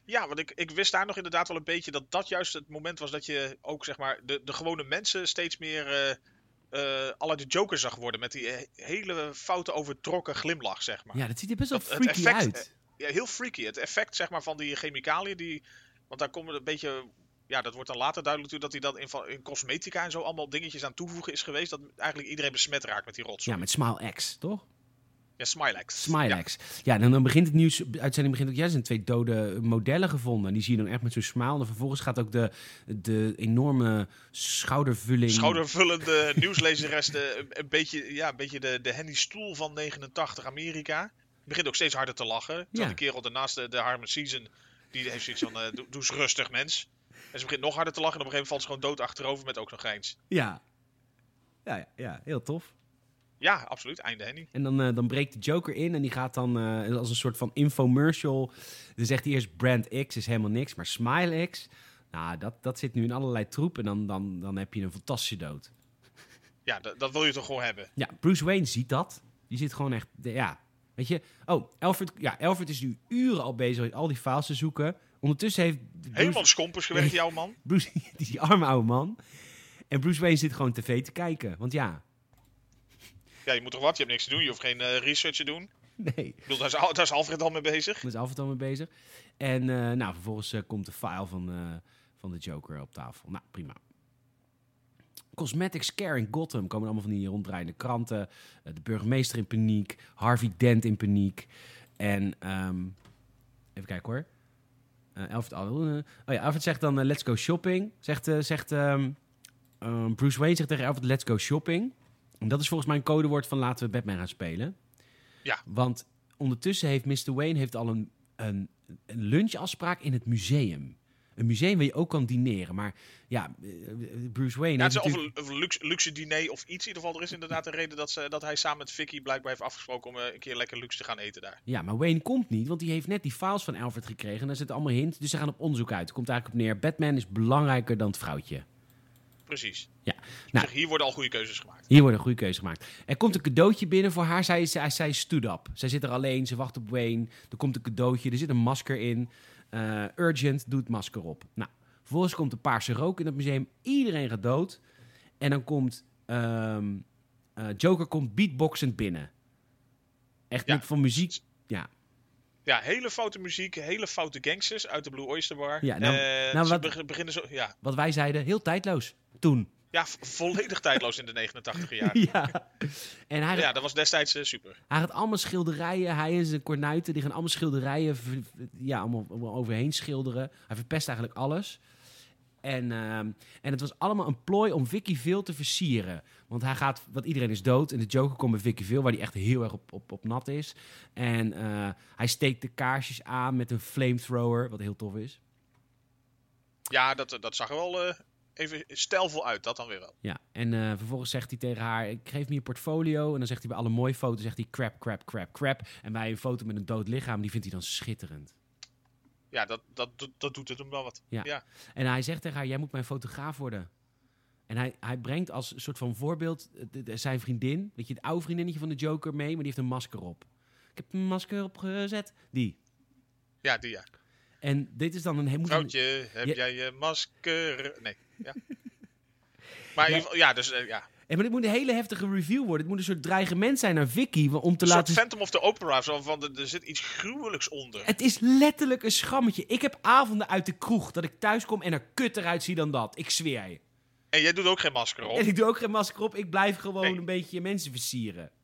ja want ik, ik wist daar nog inderdaad wel een beetje dat dat juist het moment was dat je ook zeg maar de, de gewone mensen steeds meer eh, eh, à la de Joker zag worden. Met die eh, hele foute overtrokken glimlach, zeg maar. Ja, dat ziet er best wel Dat- het freaky effect, eh, uit. ja, heel freaky. Het effect zeg maar, van die chemicaliën, die, want daar komen een beetje. Ja, dat wordt dan later duidelijk toe dat hij dan in, van- in cosmetica en zo allemaal dingetjes aan toevoegen is geweest. Dat eigenlijk iedereen besmet raakt met die rotzooi. Ja, met Smile X, toch? Ja, Smilex. Smile X. Ja, en dan begint het nieuws, de uitzending begint ook, ja, er zijn twee dode modellen gevonden. En die zie je dan echt met zo'n smile. En vervolgens gaat ook de, de enorme schoudervulling. Ja, schoudervullende *laughs* nieuwslezeres, de- een, een beetje, ja, een beetje de, de Henny Stoel van 89 Amerika. Begint ook steeds harder te lachen. Terwijl Ja. die kerel daarnaast, de, de Harmon Season, die heeft zoiets van, eh, doe, doe eens rustig mens. En ze begint nog harder te lachen en op een gegeven moment valt ze gewoon dood achterover met ook nog eens. Ja. Ja, ja, ja, heel tof. Ja, absoluut. Einde Henny. En dan, eh, dan breekt de Joker in en die gaat dan eh, als een soort van infomercial. Dan zegt hij eerst Brand X is helemaal niks, maar Smile X. Nou, dat, dat zit nu in allerlei troep en dan, dan, dan heb je een fantastische dood. Ja, dat, dat wil je toch gewoon hebben. Ja, Bruce Wayne ziet dat. Die zit gewoon echt, de- ja, weet je. Oh, Alfred, ja, Alfred is nu uren al bezig met al die files te zoeken. Ondertussen heeft Helemaal Bruce, de schompers gewerkt, jouw man. Bruce *laughs* die, die arme oude man. En Bruce Wayne zit gewoon tv te kijken. Want ja, *laughs* Ja, je moet toch wat? Je hebt niks te doen. Je hoeft geen eh, research te doen. nee, Ik bedoel, daar is, Al- daar is Alfred al mee bezig. daar is Alfred al mee bezig. En eh, nou, vervolgens eh, komt de file van, eh, van de Joker op tafel. Nou, prima. Cosmetics Care in Gotham komen allemaal van die ronddraaiende kranten. Eh, de burgemeester in paniek. Harvey Dent in paniek. En ehm, even kijken hoor. Eh Alfred, Al- eh, oh ja, Alfred zegt dan eh, let's go shopping. Zegt, eh, zegt ehm, ehm, Bruce Wayne zegt tegen Alfred let's go shopping. En dat is volgens mij een codewoord van laten we Batman gaan spelen. Ja. Want ondertussen heeft Mr. Wayne heeft al een, een, een lunchafspraak in het museum. Een museum waar je ook kan dineren. Maar ja, eh, Bruce Wayne... Ja, het heeft is of natuurlijk- een, of een luxe, luxe diner of iets. In ieder geval, er is inderdaad een reden dat, ze, dat hij samen met Vicky blijkbaar heeft afgesproken om eh, een keer lekker luxe te gaan eten daar. Ja, maar Wayne komt niet, want die heeft net die files van Alfred gekregen. En daar zitten allemaal hints, dus ze gaan op onderzoek uit. Komt eigenlijk op neer, Batman is belangrijker dan het vrouwtje. Precies. Ja, Dus nou. hier worden al goede keuzes gemaakt. Hier wordt een goede keuze gemaakt. Er komt een cadeautje binnen voor haar. Zij, zij, zij stood up. Zij zit er alleen, ze wacht op Wayne. Er komt een cadeautje, er zit een masker in. Eh, urgent, doet masker op. Nou, vervolgens komt de paarse rook in het museum. Iedereen gaat dood. En dan komt ehm, eh, Joker komt beatboxend binnen. Echt Ja. met van muziek. Ja, Ja, hele foute muziek, hele foute gangsters uit de Blue Oyster Bar. Ja, nou- Eh, nou, ze wat- beg- beginnen zo, ja, wat wij zeiden, heel tijdloos toen. ja, vo- volledig tijdloos in de 89 *laughs* jaar. Ja. En hij, Ja, dat was destijds eh, super. hij had allemaal schilderijen. Hij en zijn kornuiten, die gaan allemaal schilderijen ver- ver- ja, allemaal, allemaal overheen schilderen. Hij verpest eigenlijk alles. En, ehm, en het was allemaal een plooi om Vicky veel te versieren. Want hij gaat, want iedereen is dood. En de Joker komt bij Vicky veel, waar hij echt heel erg op, op, op nat is. En eh, hij steekt de kaarsjes aan met een flamethrower, wat heel tof is. Ja, dat, dat zag er wel eh, even stijlvol uit, dat dan weer wel. Ja, en eh, vervolgens zegt hij tegen haar: Ik geef me je portfolio. En dan zegt hij bij alle mooie foto's: zegt hij crap, crap, crap, crap. En bij een foto met een dood lichaam, die vindt hij dan schitterend. Ja, dat, dat, dat, dat doet het hem wel wat. Ja. Ja. En hij zegt tegen haar, jij moet mijn fotograaf worden. En hij, hij brengt als soort van voorbeeld eh, de- de- zijn vriendin, weet je, het oude vriendinnetje van de Joker mee, maar die heeft een masker op. Ik heb een masker opgezet. Die. Ja, die ja. En dit is dan een... moet een- Vrouwtje, heb Ja. jij je masker? Nee, *laughs* ja. Maar in ieder geval, ja, dus eh, ja. En maar dit moet een hele heftige review worden. Het moet een soort dreigement zijn naar Vicky wa- om te Een soort laten... Phantom of the Opera, zo van, er er zit iets gruwelijks onder. Het is letterlijk een schammetje. Ik heb avonden uit de kroeg dat ik thuis kom en er kutter uitzie dan dat. Ik zweer je. En jij doet ook geen *laughs* masker op. En ik doe ook geen masker op. Ik blijf gewoon Nee. een beetje mensen versieren. *laughs*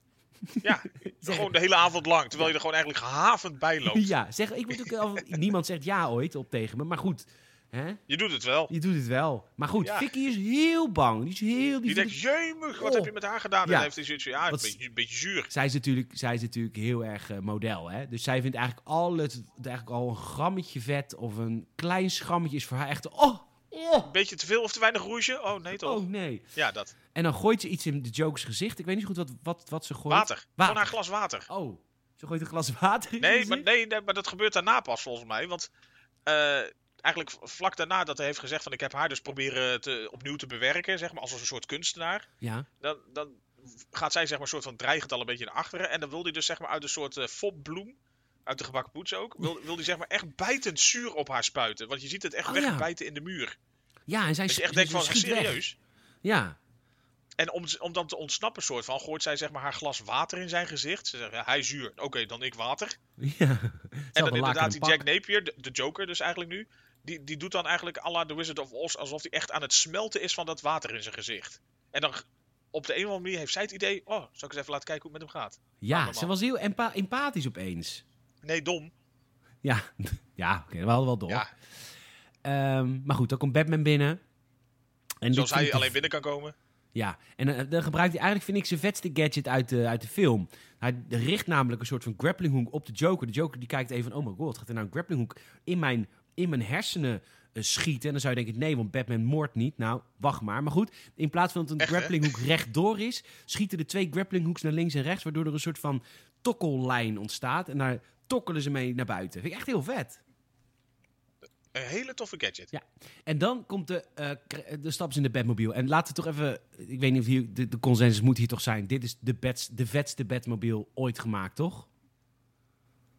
Ja, gewoon de hele avond lang, terwijl je er gewoon eigenlijk gehavend bij *laughs* loopt. Ja, zeg, ik moet ook al- niemand zegt ja ooit op tegen me. Maar goed, hè? Je doet het wel. je doet het wel. Maar goed, Ja. Vicky is heel bang. Die is heel... Die Die vindt denkt, jeumig, wat Oh. heb je met haar gedaan? En Ja. dan heeft hij zoiets van, ja, een Wat- beetje, een beetje zuur. Zij is natuurlijk, zij is natuurlijk heel erg eh, model, hè? Dus zij vindt eigenlijk alles, eigenlijk al een grammetje vet of een klein schrammetje is voor haar echt... Oh, oh, Een beetje te veel of te weinig rouge? Oh, nee toch? oh nee. Ja, dat. En dan gooit ze iets in de Joker's gezicht. Ik weet niet zo goed wat, wat, wat ze gooit. Water. Water. Gewoon haar glas water. Oh, ze gooit een glas water in Nee zijn maar, gezicht? nee, nee, maar dat gebeurt daarna pas volgens mij. Want eh, eigenlijk v- vlak daarna dat hij heeft gezegd van ik heb haar dus proberen te, opnieuw te bewerken, zeg maar, als een soort kunstenaar. Ja, Dan, dan gaat zij zeg maar een soort van dreigend al een beetje naar achteren. En dan wil hij dus zeg maar uit een soort eh fopbloem, uit de gebakken poets ook, wil, wil hij zeg maar echt bijtend zuur op haar spuiten. Want je ziet het echt Oh, ja. wegbijten in de muur. ja en zij Dat je schiet- echt denkt ze van, schiet weg. serieus? Ja, *laughs* En om, om dan te ontsnappen soort van, gooit zij zeg maar haar glas water in zijn gezicht. Ze zegt, ja, hij is zuur. Oké, dan ik water. ja. En dan inderdaad die Jack Napier, de, de Joker dus eigenlijk nu. Die, die doet dan eigenlijk à la The Wizard of Oz alsof hij echt aan het smelten is van dat water in zijn gezicht. En dan g- op de een of andere manier heeft zij het idee, oh, zal ik eens even laten kijken hoe het met hem gaat. Ja, allemaal. ze was heel empa- empathisch opeens. Nee, dom. Ja, *laughs* ja oké, we hadden wel door. Ja, Ehm, maar goed, dan komt Batman binnen. En zoals dit vind hij ik alleen de- binnen kan komen. Ja, en eh, dan gebruikt hij eigenlijk, vind ik, zijn vetste gadget uit de, uit de film. Hij richt namelijk een soort van grappling hook op de Joker. De Joker die kijkt even, oh my god, gaat er nou een grappling hook in mijn, in mijn hersenen eh, schieten? En dan zou je denken, nee, want Batman moordt niet. Nou, wacht maar. Maar goed, in plaats van dat een Echt, hè? grappling hook rechtdoor is, schieten de twee grappling hooks naar links en rechts, waardoor er een soort van tokkellijn ontstaat. En daar tokkelen ze mee naar buiten. Vind ik echt heel vet. Een hele toffe gadget. Ja, en dan komt de, eh, kr- de staps in de Batmobile. En laten we toch even, ik weet niet of hier, de, de consensus moet hier toch zijn. Dit is de, bets, de vetste Batmobile ooit gemaakt, toch?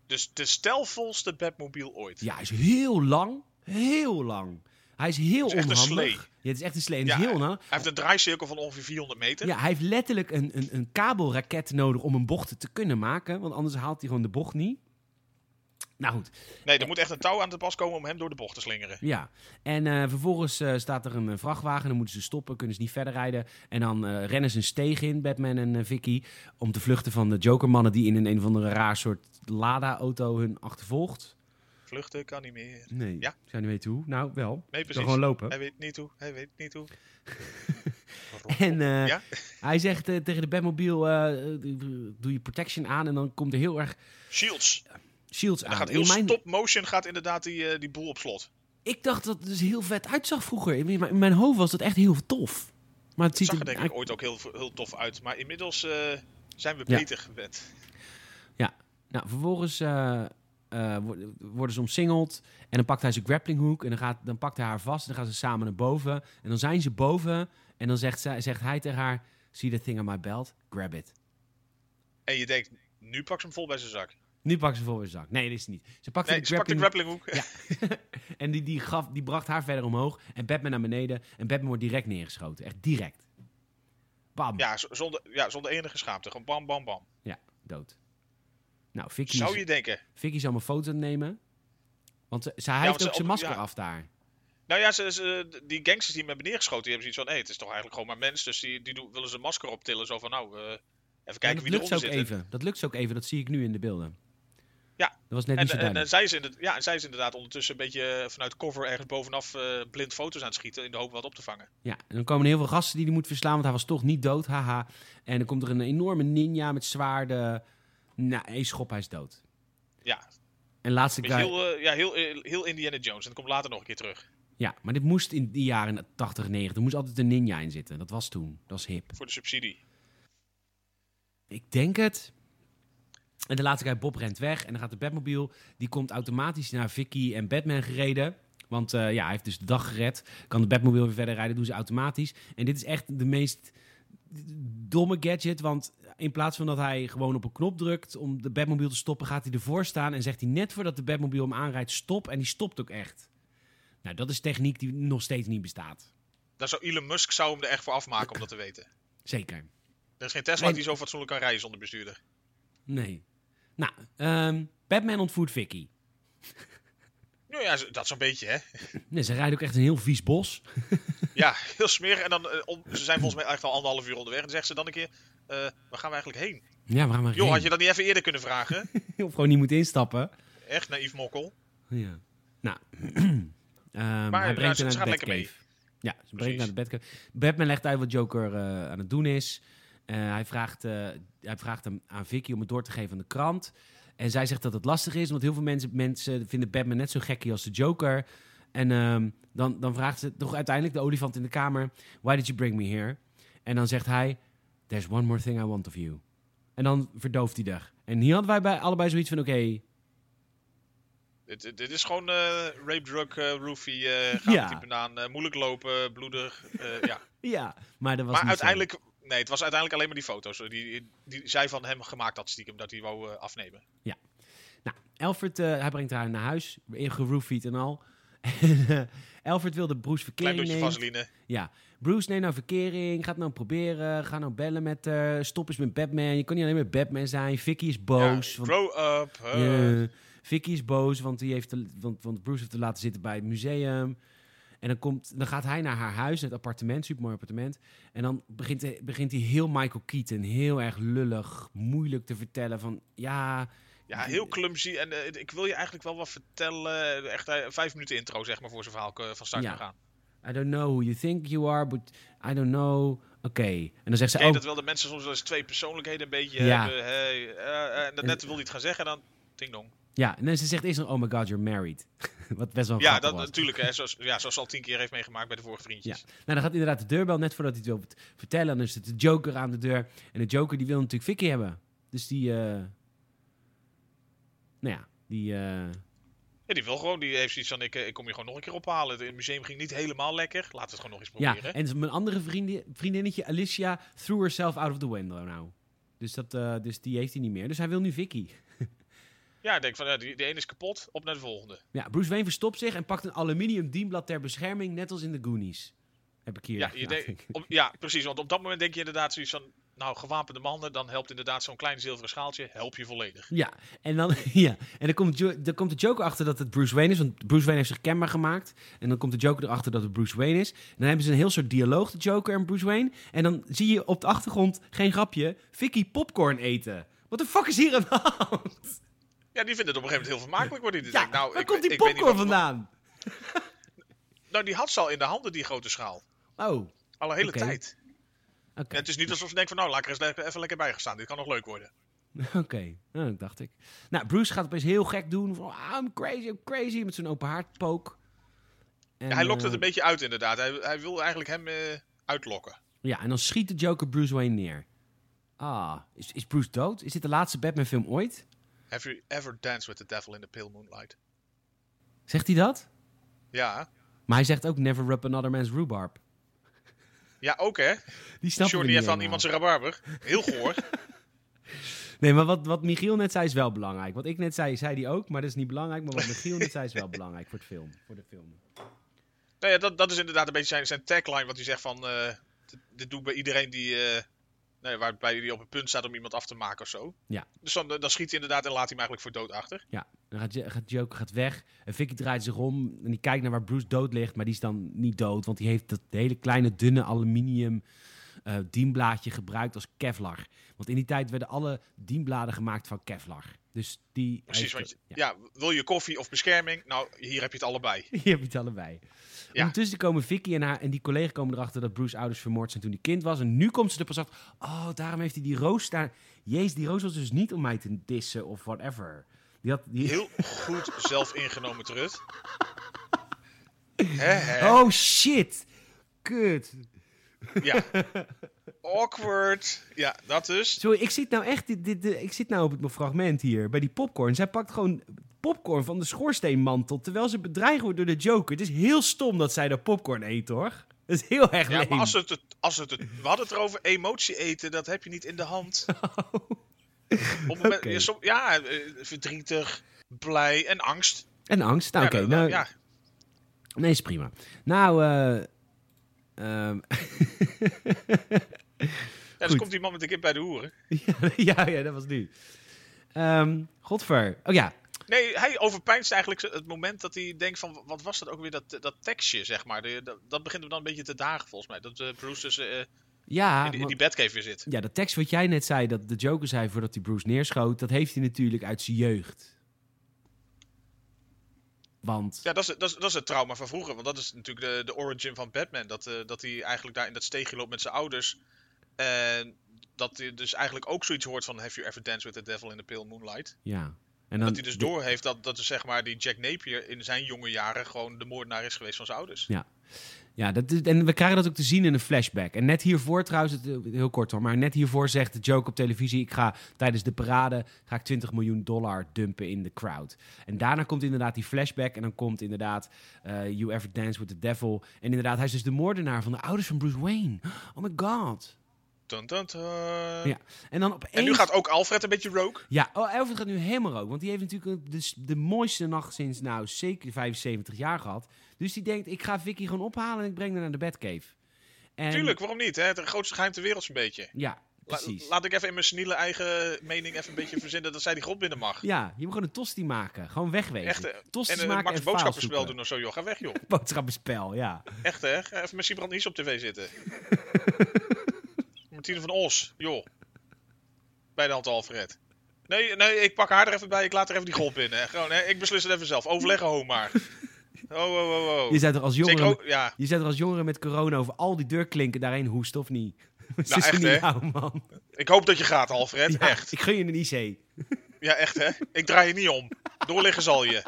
Dus de stelvolste Batmobile ooit. Ja, hij is heel lang, heel lang. Hij is heel Het is echt een onhandig. slee. Ja, het is echt een slee. en Ja, Het is heel onhandig. Hij heeft een draaicirkel van ongeveer 400 meter. Ja, hij heeft letterlijk een, een, een kabelraket nodig om een bocht te kunnen maken. Want anders haalt hij gewoon de bocht niet. Nou goed, Nee, er moet echt een touw aan te pas komen om hem door de bocht te slingeren. Ja, en eh, vervolgens eh, staat er een eh, vrachtwagen. Dan moeten ze stoppen, kunnen ze niet verder rijden. En dan eh, rennen ze een steeg in, Batman en eh, Vicky. Om te vluchten van de Jokermannen die in een, een of andere raar soort Lada-auto hun achtervolgt. Vluchten kan niet meer. Nee, Ja. ik zou niet weten hoe. Nou, wel. Nee, Ze precies. gewoon lopen. Hij weet niet hoe, hij weet niet hoe. *laughs* En eh, Ja? hij zegt eh, tegen de Batmobile, eh, eh, doe je protection aan. En dan komt er heel erg Shields. shields Dan aan. gaat En heel Nou, in mijn- stop motion gaat inderdaad die, eh, die boel op slot. Ik dacht dat het dus heel vet uitzag vroeger. In mijn, in mijn hoofd was dat echt heel tof. Maar het Dat ziet zag er er denk ik eigenlijk- ooit ook heel, heel tof uit. Maar inmiddels eh, zijn we Ja. beter gewend. Nou, vervolgens eh, eh, wo- worden ze omsingeld. En dan pakt hij zijn grappling En dan, gaat, dan pakt hij haar vast. En dan gaan ze samen naar boven. En dan zijn ze boven. En dan zegt, zij, zegt hij tegen haar: See that thing on my belt? Grab it. En je denkt, nu pak ze hem vol bij zijn zak. Nu pakt ze voor weer zak. Nee, dat is het niet. Ze pakt Nee, de ze pakt de grappling grappling hook. Ja. *laughs* En die, die, gaf, die bracht haar verder omhoog. En Batman naar beneden. En Batman wordt direct neergeschoten. Echt direct. Bam. *laughs* Ja, z- zonder, ja, zonder enige schaamte. Gewoon bam, bam, bam. Ja, dood. Nou, Vicky, Zou is- je denken. Vicky is allemaal foto's aan het nemen. Want ze, ze, hij Ja, heeft want ook ze zijn op- masker ja. af daar. Nou ja, ze, ze- die gangsters die hem hebben neergeschoten, die hebben zoiets van... Hé, het is toch eigenlijk gewoon maar mens. Dus die, die doen, willen ze een masker optillen. Zo van, nou, eh, even kijken Ja, wie dat lukt ze eronder ook zit. even. Dat lukt ze ook even. Dat zie ik nu in de beelden. Ja. Dat was net En, eh, niet zo en, en, duidelijk. zij is inderdaad, ja, en zij is inderdaad ondertussen een beetje eh, vanuit cover ergens bovenaf eh, blind foto's aan het schieten. In de hoop wat op te vangen. Ja, en dan komen er heel veel gasten die hij moet verslaan, want hij was toch niet dood. Haha. En dan komt er een enorme ninja met zwaarden. Nou, één schop, hij is dood. Ja, En laatste Beetje guy. heel, eh, ja, heel, eh, heel Indiana Jones. En dat komt later nog een keer terug. Ja, maar dit moest in die jaren 80, 90. Er moest altijd een ninja in zitten. Dat was toen. Dat was hip. Voor de subsidie. Ik denk het. En de laatste guy, Bob, rent weg. En dan gaat de Batmobile, die komt automatisch naar Vicky en Batman gereden. Want eh, ja, hij heeft dus de dag gered. Kan de Batmobile weer verder rijden, doen ze automatisch. En dit is echt de meest domme gadget. Want in plaats van dat hij gewoon op een knop drukt om de Batmobile te stoppen, gaat hij ervoor staan en zegt hij net voordat de Batmobile hem aanrijdt, stop. En die stopt ook echt. Nou, dat is techniek die nog steeds niet bestaat. Daar zou Elon Musk zou hem er echt voor afmaken om dat te weten. Zeker. Er is geen Tesla Nee. die zo fatsoenlijk kan rijden zonder bestuurder. Nee. Nou, ehm, Batman ontvoert Vicky. Nou ja, zo- dat zo'n beetje, hè? *laughs* Nee, ze rijden ook echt een heel vies bos. Ja, heel smerig. En dan, eh, om, ze zijn volgens mij echt al anderhalf uur onderweg. En dan zegt ze dan een keer, eh, waar gaan we eigenlijk heen? Ja, waar gaan we Joh, had heen? *laughs* je dat niet even eerder kunnen vragen? Of gewoon niet moeten instappen. Echt, naïef mokkel. Ja. Nou, *clears throat* ehm, hij nou, brengt ze- hem ze naar gaat de lekker Batcave. mee. Ja, ze brengt hem Precies. naar de Batcave. Batman legt uit wat Joker eh, aan het doen is. Eh, hij, vraagt, eh, hij vraagt hem aan Vicky om het door te geven aan de krant. En zij zegt dat het lastig is, want heel veel mensen, mensen vinden Batman net zo gekkie als de Joker. En ehm, dan, dan vraagt ze toch uiteindelijk de olifant in de kamer: Why did you bring me here? En dan zegt hij: There's one more thing I want of you. En dan verdooft hij er. En hier hadden wij bij allebei zoiets van: Oké, Dit, dit- dit is gewoon eh, rape, drug, eh roofie, eh gaat Ja. ja. banaan, eh, moeilijk lopen, bloedig, eh, ja. ja, maar dat was. Maar niet zo. uiteindelijk, nee, het was uiteindelijk alleen maar die foto's eh, die, die zij van hem gemaakt had stiekem, dat hij wou eh, afnemen. Nou, Alfred, eh, hij brengt haar naar huis, geroofied en al. *laughs* En, eh, Alfred wilde Bruce Klein verkering beetje nemen. vaseline. Ja, Bruce, neem nou verkering, ga het nou proberen, ga nou bellen met haar, stop eens met Batman. Je kan niet alleen met Batman zijn, Vicky is boos. Ja, want- grow up. eh. Ja, Vicky is boos, want, die heeft te- want, want Bruce heeft te laten zitten bij het museum. En dan, komt, dan gaat hij naar haar huis, het appartement, supermooi appartement. En dan begint, hij- begint hij heel Michael Keaton, heel erg lullig, moeilijk te vertellen van... Ja, Ja, heel clumsy. En eh, ik wil je eigenlijk wel wat vertellen. Echt eh, vijf minuten intro, zeg maar, voor zijn verhaal eh, van start Ja. kan gaan. I don't know who you think you are, but I don't know. Oké. En dan zegt ze oh, Ik denk ook. dat wel de mensen soms wel eens twee persoonlijkheden een beetje Ja. hebben. Hey, eh, eh, en dat net wil hij het gaan zeggen en dan ding dong. Ja, en dan- ze zegt eerst nog: Oh my god, you're married. *laughs* Wat best wel een Ja, grappig dat was. natuurlijk. Hè, zoals, ja, zoals ze al tien keer heeft meegemaakt bij de vorige Ja. vriendjes. Nou, dan gaat inderdaad de deurbel net voordat hij het wil vertellen. En dan zit de Joker aan de deur. En de Joker die wil natuurlijk Vicky hebben. Dus die. eh, Nou ja, die. eh, Ja, die wil gewoon. Die heeft zoiets van, ik, eh, ik kom je gewoon nog een keer ophalen. Het- Het museum ging niet helemaal lekker. Laten we het gewoon nog eens Ja, proberen. en dus mijn andere vriendin, vriendinnetje Alicia threw herself out of the window nou. Dus, dat, eh, dus die heeft hij niet meer. Dus hij wil nu Vicky. Ja, ik denk van, ja, die, die ene is kapot. Op naar de volgende. Ja, Bruce Wayne verstopt zich en pakt een aluminium dienblad ter bescherming, net als in de Goonies. Heb ik hier. Ja, je nagedacht. denkt- op- ja, precies. Want op dat moment denk je inderdaad zoiets van... Nou, gewapende mannen, dan helpt inderdaad zo'n klein zilveren schaaltje. Help je volledig. Ja, en dan, *laughs* ja. En dan, komt jo- dan komt de Joker achter dat het Bruce Wayne is. Want Bruce Wayne heeft zich kenbaar gemaakt. En dan komt de Joker erachter dat het Bruce Wayne is. En dan hebben ze een heel soort dialoog, de Joker en Bruce Wayne. En dan zie je op de achtergrond, geen grapje, Vicky popcorn eten. Wat de fuck is hier aan de hand? Ja, die vindt het op een gegeven moment heel vermakelijk worden. Die Ja, denkt, Dus nou, waar ik, komt die ik weet niet popcorn wat- vandaan? Nou, die had ze al in de handen, die grote schaal. Oh, oké. Al een hele Oké. tijd. En het is niet alsof ze denkt van, nou, laat ik er eens le- even lekker bij gaan staan. Dit kan nog leuk worden. Oké, *laughs* nou, dat dacht ik. Nou, Bruce gaat opeens heel gek doen. Van, "Ah, I'm crazy, I'm crazy. Met zijn open haardpook. En, Ja, hij lokt eh, het een beetje uit, inderdaad. Hij, hij wil eigenlijk hem eh, uitlokken. Ja, en dan schiet de Joker Bruce Wayne neer. Ah, is, is Bruce dood? Is dit de laatste Batman-film ooit? Have you ever danced with the devil in the pale moonlight? Zegt hij dat? Ja. Maar hij zegt ook never rub another man's rhubarb. Ja, ook hè. Die snap ik Shorty niet heeft aan helemaal. iemand zijn rabarber. Heel goor. Nee, maar wat, wat Michiel net zei is wel belangrijk. Wat ik net zei, zei die ook, maar dat is niet belangrijk. Maar wat Michiel net zei is wel belangrijk voor, het film, voor de film. nou ja, dat, dat is inderdaad een beetje zijn, zijn tagline. Wat hij zegt van, eh, dit, dit doe ik bij iedereen die... eh, nee, waarbij hij op het punt staat om iemand af te maken of zo. Ja. Dus dan, dan schiet hij inderdaad en laat hij hem eigenlijk voor dood achter. Ja, dan gaat, Jo- gaat Joker gaat weg. En Vicky draait zich om en die kijkt naar waar Bruce dood ligt. Maar die is dan niet dood, want die heeft dat hele kleine, dunne aluminium eh dienblaadje gebruikt als Kevlar. Want in die tijd werden alle dienbladen gemaakt van Kevlar. Dus die... Precies, heeft- want je- ja. ja. wil je koffie of bescherming? Nou, hier heb je het allebei. *laughs* Je hebt het allebei. Ja. Ondertussen komen Vicky en, haar, en die collega komen erachter dat Bruce ouders vermoord zijn toen hij kind was. En nu komt ze er pas achter. Oh, daarom heeft hij die roos daar. Jezus, die roos was dus niet om mij te dissen of whatever. Die had, die... Heel goed zelf ingenomen, Trut. Hè, hè. Oh shit! Kut. Ja. Awkward. Ja, dat dus. Sorry, ik zit nou echt dit, dit, dit- ik zit nou op het fragment hier bij die popcorn. Zij pakt gewoon popcorn van de schoorsteenmantel terwijl ze bedreigd wordt door de Joker. Het is heel stom dat zij daar popcorn eet, hoor. Dat is heel erg Ja, leem. maar als het, het, als het, het we hadden het erover emotie eten, dat heb je niet in de *laughs* hand. Op het moment, Oh. Oké. ja, som- ja, eh, verdrietig, blij en angst. En angst. Nou, Ja, oké. dat- nou, ja, Nee, is prima. Nou, eh... ehm, ja, dus goed. komt die man met een kind bij de hoeren. ja, *laughs* ja, ja, dat was nu. Ehm, Godver. Oh ja, Nee, hij overpijnst eigenlijk het moment dat hij denkt van... Wat was dat ook weer, dat, dat tekstje, zeg maar. De- dat, dat begint hem dan een beetje te dagen, volgens mij. Dat eh, Bruce dus eh, ja. in, die- in Ah, maar- die bedcave weer zit. Ja, dat tekst wat jij net zei, dat de Joker zei voordat hij Bruce neerschoot, dat heeft hij natuurlijk uit zijn jeugd. Want, Ja, dat is, dat, is, dat is het trauma van vroeger. Want dat is natuurlijk de, de origin van Batman. Dat, eh, dat hij eigenlijk daar in dat steegje loopt met zijn ouders. En dat hij dus eigenlijk ook zoiets hoort van... Have you ever danced with the devil in the pale moonlight? ja. En dan, Dat hij dus doorheeft dat, dat dus, zeg maar, die Jack Napier in zijn jonge jaren... gewoon de moordenaar is geweest van zijn ouders. Ja, dat, is- en we krijgen dat ook te zien in een flashback. En net hiervoor, trouwens, het, eh, heel kort hoor, maar net hiervoor zegt de Joker op televisie: ik ga tijdens de parade ga ik 20 miljoen dollar dumpen in de crowd. En daarna komt inderdaad die flashback en dan komt inderdaad eh, You Ever Dance with the Devil. En inderdaad, hij is dus de moordenaar van de ouders van Bruce Wayne. Oh my god. Dun, dun, dun. Ja. En dan opeens... En nu gaat ook Alfred een beetje rogue. Ja, oh, Alfred gaat nu helemaal rook. Want die heeft natuurlijk de, de mooiste nacht sinds nou zeker 75 jaar gehad. Dus die denkt, ik ga Vicky gewoon ophalen en ik breng haar naar de Batcave. En, Tuurlijk, waarom niet? Hè? Het grootste geheim ter wereld zo'n beetje. Ja, La- precies. laat ik even in mijn seniele eigen mening even een beetje verzinnen... dat zij die grot binnen mag. ja, je moet gewoon een tosti maken. Gewoon wegwezen. Echt, eh, Tosties en eh, maken Max en boodschappenspel faal doen Oh. zoeken. of zo, joh. Ga weg, joh. *laughs* Boodschappenspel, ja. Echt hè? Ga even met Sibrand Nies op *laughs* tv zitten. Martine van Os, joh. Bij de hand Alfred. Nee, nee, ik pak haar er even bij. Ik laat er even die golf binnen. Gewoon, hè? Ik beslis het even zelf. Overleggen, ho maar. Oh, oh, oh, oh. Je zet er als Zeker jongere, ook, ja. je zet er als jongere met corona over al die deurklinken daarheen hoest of niet. *laughs* Het is Nou, echt, niet hè? jou, man. Ik hoop dat je gaat, Alfred. Ja, Echt. Ik gun je een IC. Ja, echt hè? Ik draai je niet om. Doorliggen *laughs* zal je.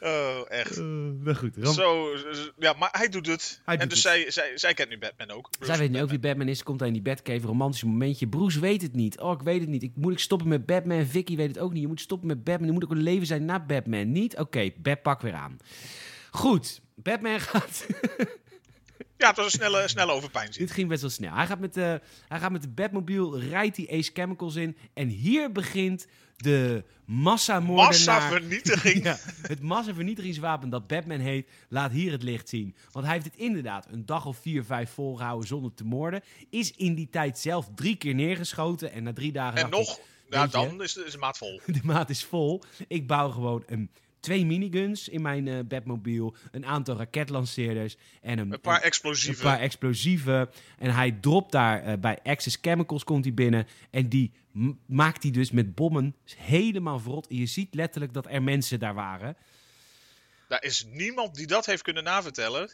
oh, echt. nou goed, ramp. Zo, z- ja, maar hij doet het. Hij en doet dus het. Zij, zij, zij kent nu Batman ook. Zij weet nu ook wie Batman is. Ze Komt daar in die Batcave, romantisch momentje. Bruce weet het niet. Oh, ik weet het niet. Ik, moet ik stoppen met Batman? Vicky weet het ook niet. Je moet stoppen met Batman. Er moet ook een leven zijn na Batman. Niet? Oké, Bat pak weer aan. Goed, Batman *laughs* gaat... Ja, het was een snelle, snelle overpeinzing. Dit ging best wel snel. Hij gaat met de, hij gaat met de Batmobile, rijdt die Ace Chemicals in. En hier begint de massamoordenaar... *laughs* *laughs* Massavernietiging. Ja, het massavernietigingswapen dat Batman heet, laat hier het licht zien. Want hij heeft het inderdaad een dag of vier, vijf volgehouden zonder te moorden. Is in die tijd zelf drie keer neergeschoten. En na drie dagen En dacht nog, nou weet je, dan is de, is de maat vol. *laughs* de maat is vol. Ik bouw gewoon een, twee miniguns in mijn eh Batmobile. Een aantal raketlanceerders. En een, Een paar een explosieven. paar explosieven. En hij dropt daar eh, bij Axis Chemicals komt hij binnen. En die m- maakt hij dus met bommen helemaal verrot. En je ziet letterlijk dat er mensen daar waren. Daar is niemand die dat heeft kunnen navertellen.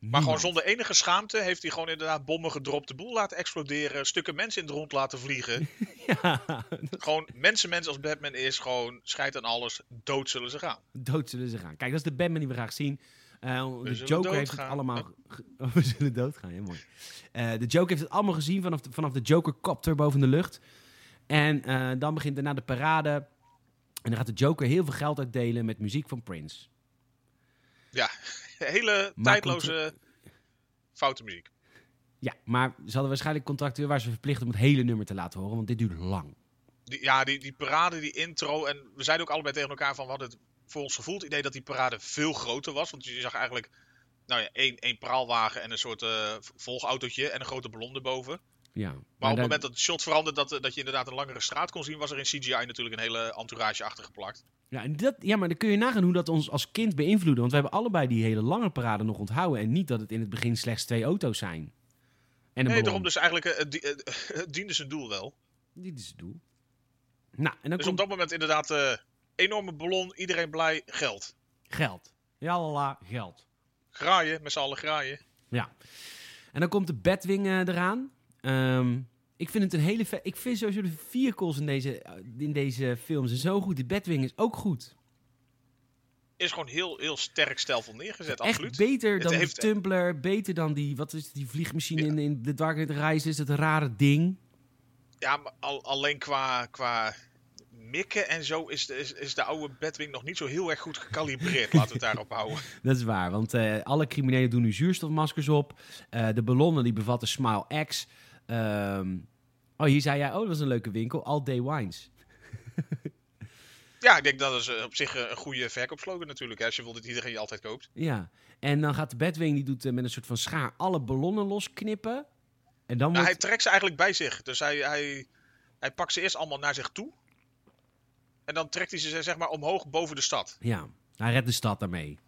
Maar gewoon Niemand. zonder enige schaamte heeft hij gewoon inderdaad bommen gedropt. De boel laten exploderen. Stukken mensen in het rond laten *laughs* vliegen. Ja, gewoon mensen, mensen als Batman is. Gewoon scheid aan alles. Dood zullen ze gaan. dood zullen ze gaan. Kijk, dat is de Batman die we graag zien. Eh, de zullen Joker heeft het doodgaan. allemaal... ge- *laughs* Oh, we zullen doodgaan, heel mooi. Eh, de Joker heeft het allemaal gezien vanaf de, vanaf de Joker-copter boven de lucht. En eh, dan begint daarna de parade. En dan gaat de Joker heel veel geld uitdelen met muziek van Prince. Ja, hele Maar eh, tijdloze foute muziek. Ja, maar ze hadden waarschijnlijk contracten waar ze verplicht om het hele nummer te laten horen, want dit duurt lang. Die, ja, die, die parade, die intro. En we zeiden ook allebei tegen elkaar van... We hadden het voor ons gevoel het idee dat die parade veel groter was. Want je zag eigenlijk... Nou ja, één, één praalwagen en een soort eh, volgautootje en een grote ballon erboven. Ja. Maar op het daar- moment dat het shot veranderde, dat, eh, dat je inderdaad een langere straat kon zien, was er in CGI natuurlijk een hele entourage achtergeplakt. ja, en dat, ja, maar dan kun je nagaan hoe dat ons als kind beïnvloedde, want we hebben allebei die hele lange parade nog onthouden en niet dat het in het begin slechts twee auto's zijn. En een Nee, ballon. daarom dus eigenlijk, eh, het die- eh, *laughs* het diende zijn doel wel. Dit is het doel. Nou, en dan Dus op komt dat moment inderdaad, eh, enorme ballon, iedereen blij, geld. geld. Ja, lala, geld. Graaien, met z'n allen graaien. Ja. En dan komt de Batwing eh, eraan. Ehm, ik vind het een hele... ve- Ik vind sowieso de eh, vehicles in deze, in deze film zijn zo goed. De Batwing is ook goed. is gewoon heel, heel sterk stijlvol neergezet. Echt absoluut. beter Het dan heeft- de Tumblr, beter dan die, wat is het, die vliegmachine Ja. in, in The Dark Knight Rises, dat rare ding. Ja, maar al, alleen qua, qua mikken en zo is de, is, is de oude Batwing nog niet zo heel erg goed gecalibreerd. Laten we het daarop houden. Dat is waar, want eh, alle criminelen doen nu zuurstofmaskers op. Eh, de ballonnen die bevatten Smile X. Ehm, oh, hier zei jij, oh, dat was een leuke winkel. All Day Wines. Ja, ik denk dat is eh, op zich eh, een goede verkoopslogan natuurlijk. Hè, als je wil dat iedereen je altijd koopt. Ja. En dan gaat de Batwing, die doet eh, met een soort van schaar alle ballonnen losknippen. En dan Nou, hij wordt... trekt ze eigenlijk bij zich. Dus hij, hij, hij pakt ze eerst allemaal naar zich toe. En dan trekt hij ze zeg maar omhoog boven de stad. Ja, hij redt de stad daarmee.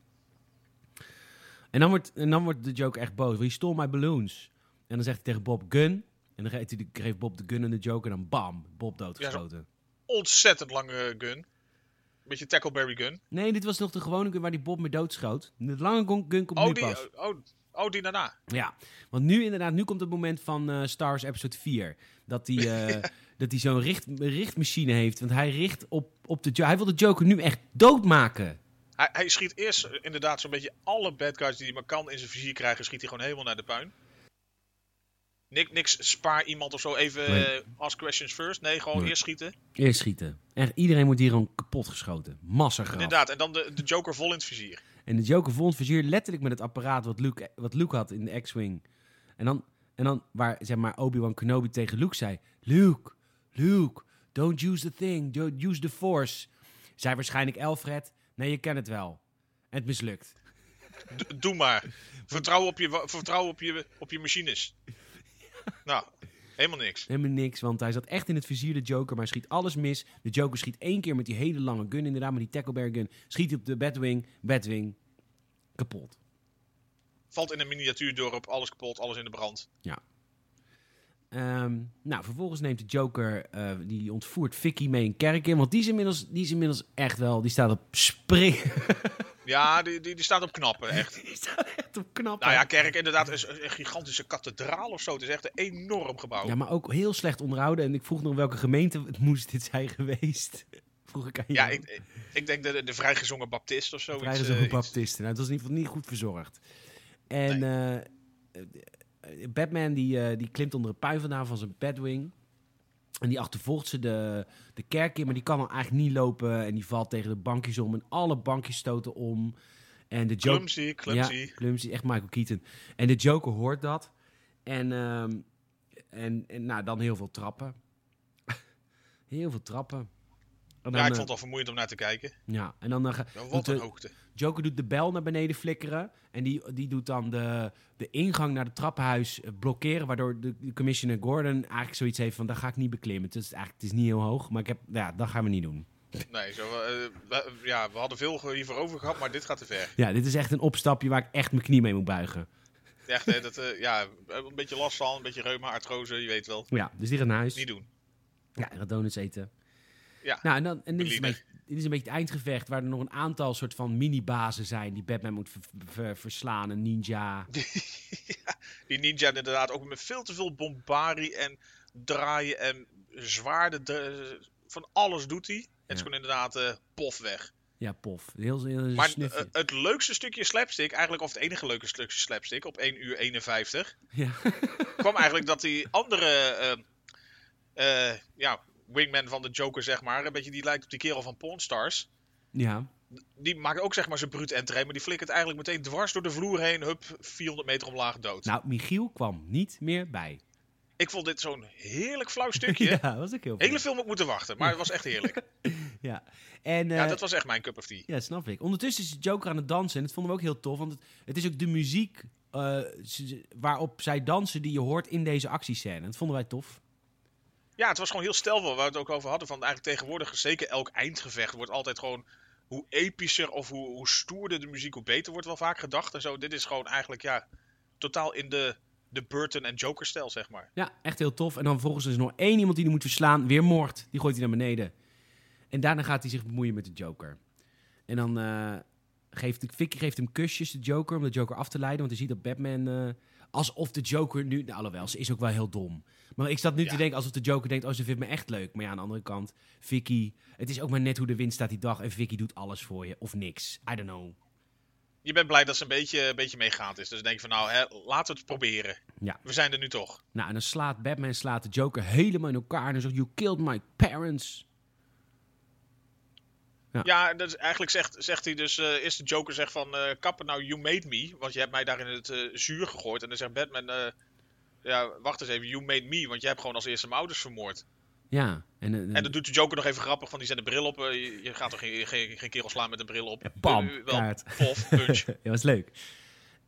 En dan wordt, en dan wordt de Joker echt boos. want Je stole mijn balloons. En dan zegt hij tegen Bob gun. En dan geeft, hij de- geeft Bob de gun en de Joker en dan bam, Bob doodgeschoten. Ontzettend lange gun. Beetje Tackleberry gun. Nee, dit was nog de gewone gun waar die Bob mee doodschoot. De lange gun gun komt Oh nu die, pas. oh, oh, oh, die daarna. Ja, want nu inderdaad, nu komt het moment van eh, Star Wars episode 4. Dat hij eh, *laughs* dat hij zo'n richt, richtmachine heeft. Want hij richt op, op de... Jo- Hij wil de Joker nu echt doodmaken. Hij, hij schiet eerst eh, inderdaad zo'n beetje alle bad guys die hij maar kan in zijn vizier krijgen, schiet hij gewoon helemaal naar de puin. Nik, niks spaar iemand of zo even Nee. eh, ask questions first. Nee, gewoon Nee. eerst schieten. Eerst schieten. Echt, iedereen wordt hier gewoon kapot geschoten. Massagraf. Inderdaad, en dan de, de Joker vol in het vizier. En de Joker vond Vizier letterlijk met het apparaat wat Luke, wat Luke had in de X-Wing. En dan, en dan waar zeg maar, Obi-Wan Kenobi tegen Luke zei... Luke, Luke, don't use the thing, don't use the force. Zei waarschijnlijk Alfred, nee, je kent het wel. En het mislukt. D- doe maar. Vertrouw op je, wa- vertrouw op je, op je *laughs* machines. Nou, helemaal niks. Helemaal niks, want hij zat echt in het vizier, de Joker. Maar hij schiet alles mis. De Joker schiet één keer met die hele lange gun, inderdaad, met die tackleberry gun. Schiet op de Batwing, Batwing, kapot. Valt in een miniatuurdorp, alles kapot, alles in de brand. Ehm, nou, vervolgens neemt de Joker, eh, die ontvoert Vicky mee een kerk in. Want die is inmiddels, die is inmiddels echt wel, die staat op springen. Ja, die, die, die staat op knappen, *laughs* echt. die staat echt op knappen. Nou ja, kerk inderdaad is een een gigantische kathedraal of zo. Het is echt een enorm gebouw. Ja, maar ook heel slecht onderhouden. En ik vroeg nog welke gemeente het moest dit zijn geweest. *laughs* Vroeg ik aan Ja, jou. ik, ik- ik denk de, de vrijgezongen baptist of zoiets. Krijgen ze eh, een iets. baptisten. Nou, het was in ieder geval niet goed verzorgd. En eh, eh, Batman die, eh, die klimt onder een puin vandaan van zijn Batwing. En die achtervolgt ze de, de kerk in, maar die kan dan eigenlijk niet lopen. En die valt tegen de bankjes om en alle bankjes stoten om. En de Joker... Clumsy, clumsy. Ja, clumsy. Echt Michael Keaton. En de Joker hoort dat. En, ehm, en, en nou, dan heel veel trappen. *laughs* heel veel trappen. En dan, ja, ik eh, vond het al vermoeiend om naar te kijken. ja, en dan... eh, ga- Nou, doet wat de- een hoogte. Joker doet de bel naar beneden flikkeren. En die, die doet dan de, de ingang naar het trappenhuis eh, blokkeren. Waardoor de, de commissioner Gordon eigenlijk zoiets heeft van... dat ga ik niet beklimmen. Het is, eigenlijk, het is niet heel hoog, maar ik heb, ja, dat gaan we niet doen. Nee, zo, eh, we, ja, we hadden veel ge- hiervoor over gehad, maar dit gaat te ver. Ja, dit is echt een opstapje waar ik echt mijn knie mee moet buigen. Echt, hè, dat, eh, ja, een beetje last van, een beetje reuma, artrose, je weet wel. Ja, dus die gaat naar huis. Niet doen. Ja, en gaat donuts eten. Ja, Nou, en, dan, en dit, is een Believer. beetje, dit is een beetje het eindgevecht... waar er nog een aantal soort van mini-bazen zijn... die Batman moet ver- ver- verslaan. Een ninja. die ninja inderdaad ook met veel te veel bombarie en draaien en zwaarden. de- van alles doet hij. Het is Ja. gewoon inderdaad eh, pof weg. Ja, pof. Heel, heel, heel Maar snufje. eh, het leukste stukje slapstick, eigenlijk of het enige leuke stukje slapstick, op 1 uur 51, ja. *laughs* kwam eigenlijk dat die andere eh, eh, ja, wingman van de Joker, zeg maar, een beetje die lijkt op die kerel van Pawn Stars. ja. Die maakt ook zeg maar zijn brute entree, maar die flikkert eigenlijk meteen dwars door de vloer heen, hup, 400 meter omlaag dood. Nou, Michiel kwam niet meer bij. Ik vond dit zo'n heerlijk *laughs* flauw stukje. Ja, dat was ook heel Hele film op moeten wachten, maar het was echt heerlijk. Ja. En, eh, Ja, dat was echt mijn cup of tea. snap ik. Ondertussen is de Joker aan het dansen. En dat vonden we ook heel tof. Want het, het is ook de muziek eh, ze- ze- waarop zij dansen die je hoort in deze actiescène. Dat vonden wij tof. Ja, het was gewoon heel stelvol, waar we het ook over hadden. Van eigenlijk tegenwoordig, zeker elk eindgevecht, wordt altijd gewoon hoe epischer of hoe, hoe stoerder de muziek, hoe beter wordt wel vaak gedacht en zo. Dit is gewoon eigenlijk, ja, totaal in de, de Burton en Joker-stijl, zeg maar. Ja, echt heel tof. En dan volgens is er nog één iemand die hij moet verslaan. Weer moord. Die gooit hij naar beneden. En daarna gaat hij zich bemoeien met de Joker. En dan eh, geeft Vicky geeft hem kusjes, de Joker, om de Joker af te leiden. Want hij ziet dat Batman... eh, alsof de Joker nu... Nou, alhoewel, ze is ook wel heel dom. Maar ik zat nu Ja. te denken alsof de Joker denkt... Oh, ze vindt me echt leuk. Maar ja, aan de andere kant, Vicky... Het is ook maar net hoe de wind staat die dag. En Vicky doet alles voor je. Of niks. I don't know. Je bent blij dat ze een beetje, een beetje meegaand is. Dus dan denk je van nou, hè, laten we het proberen. Ja. We zijn er nu toch. Nou, en dan slaat Batman slaat de Joker helemaal in elkaar. En dan zegt, you killed my parents. Ja, en dat is- eigenlijk zegt, zegt hij dus, eh, is de Joker zegt van, eh kappen nou, you made me. Want je hebt mij daar in het eh, zuur gegooid. En dan zegt Batman, eh, ja, wacht eens even, you made me. Want je hebt gewoon als eerste mijn ouders vermoord. Ja. En, eh, En dat doet de Joker nog even grappig, van die zet een bril op. eh, je, je gaat toch geen, geen, geen kerel slaan met een bril op. bam, Eh, wel, kaart. *laughs* pof, punch. dat was leuk.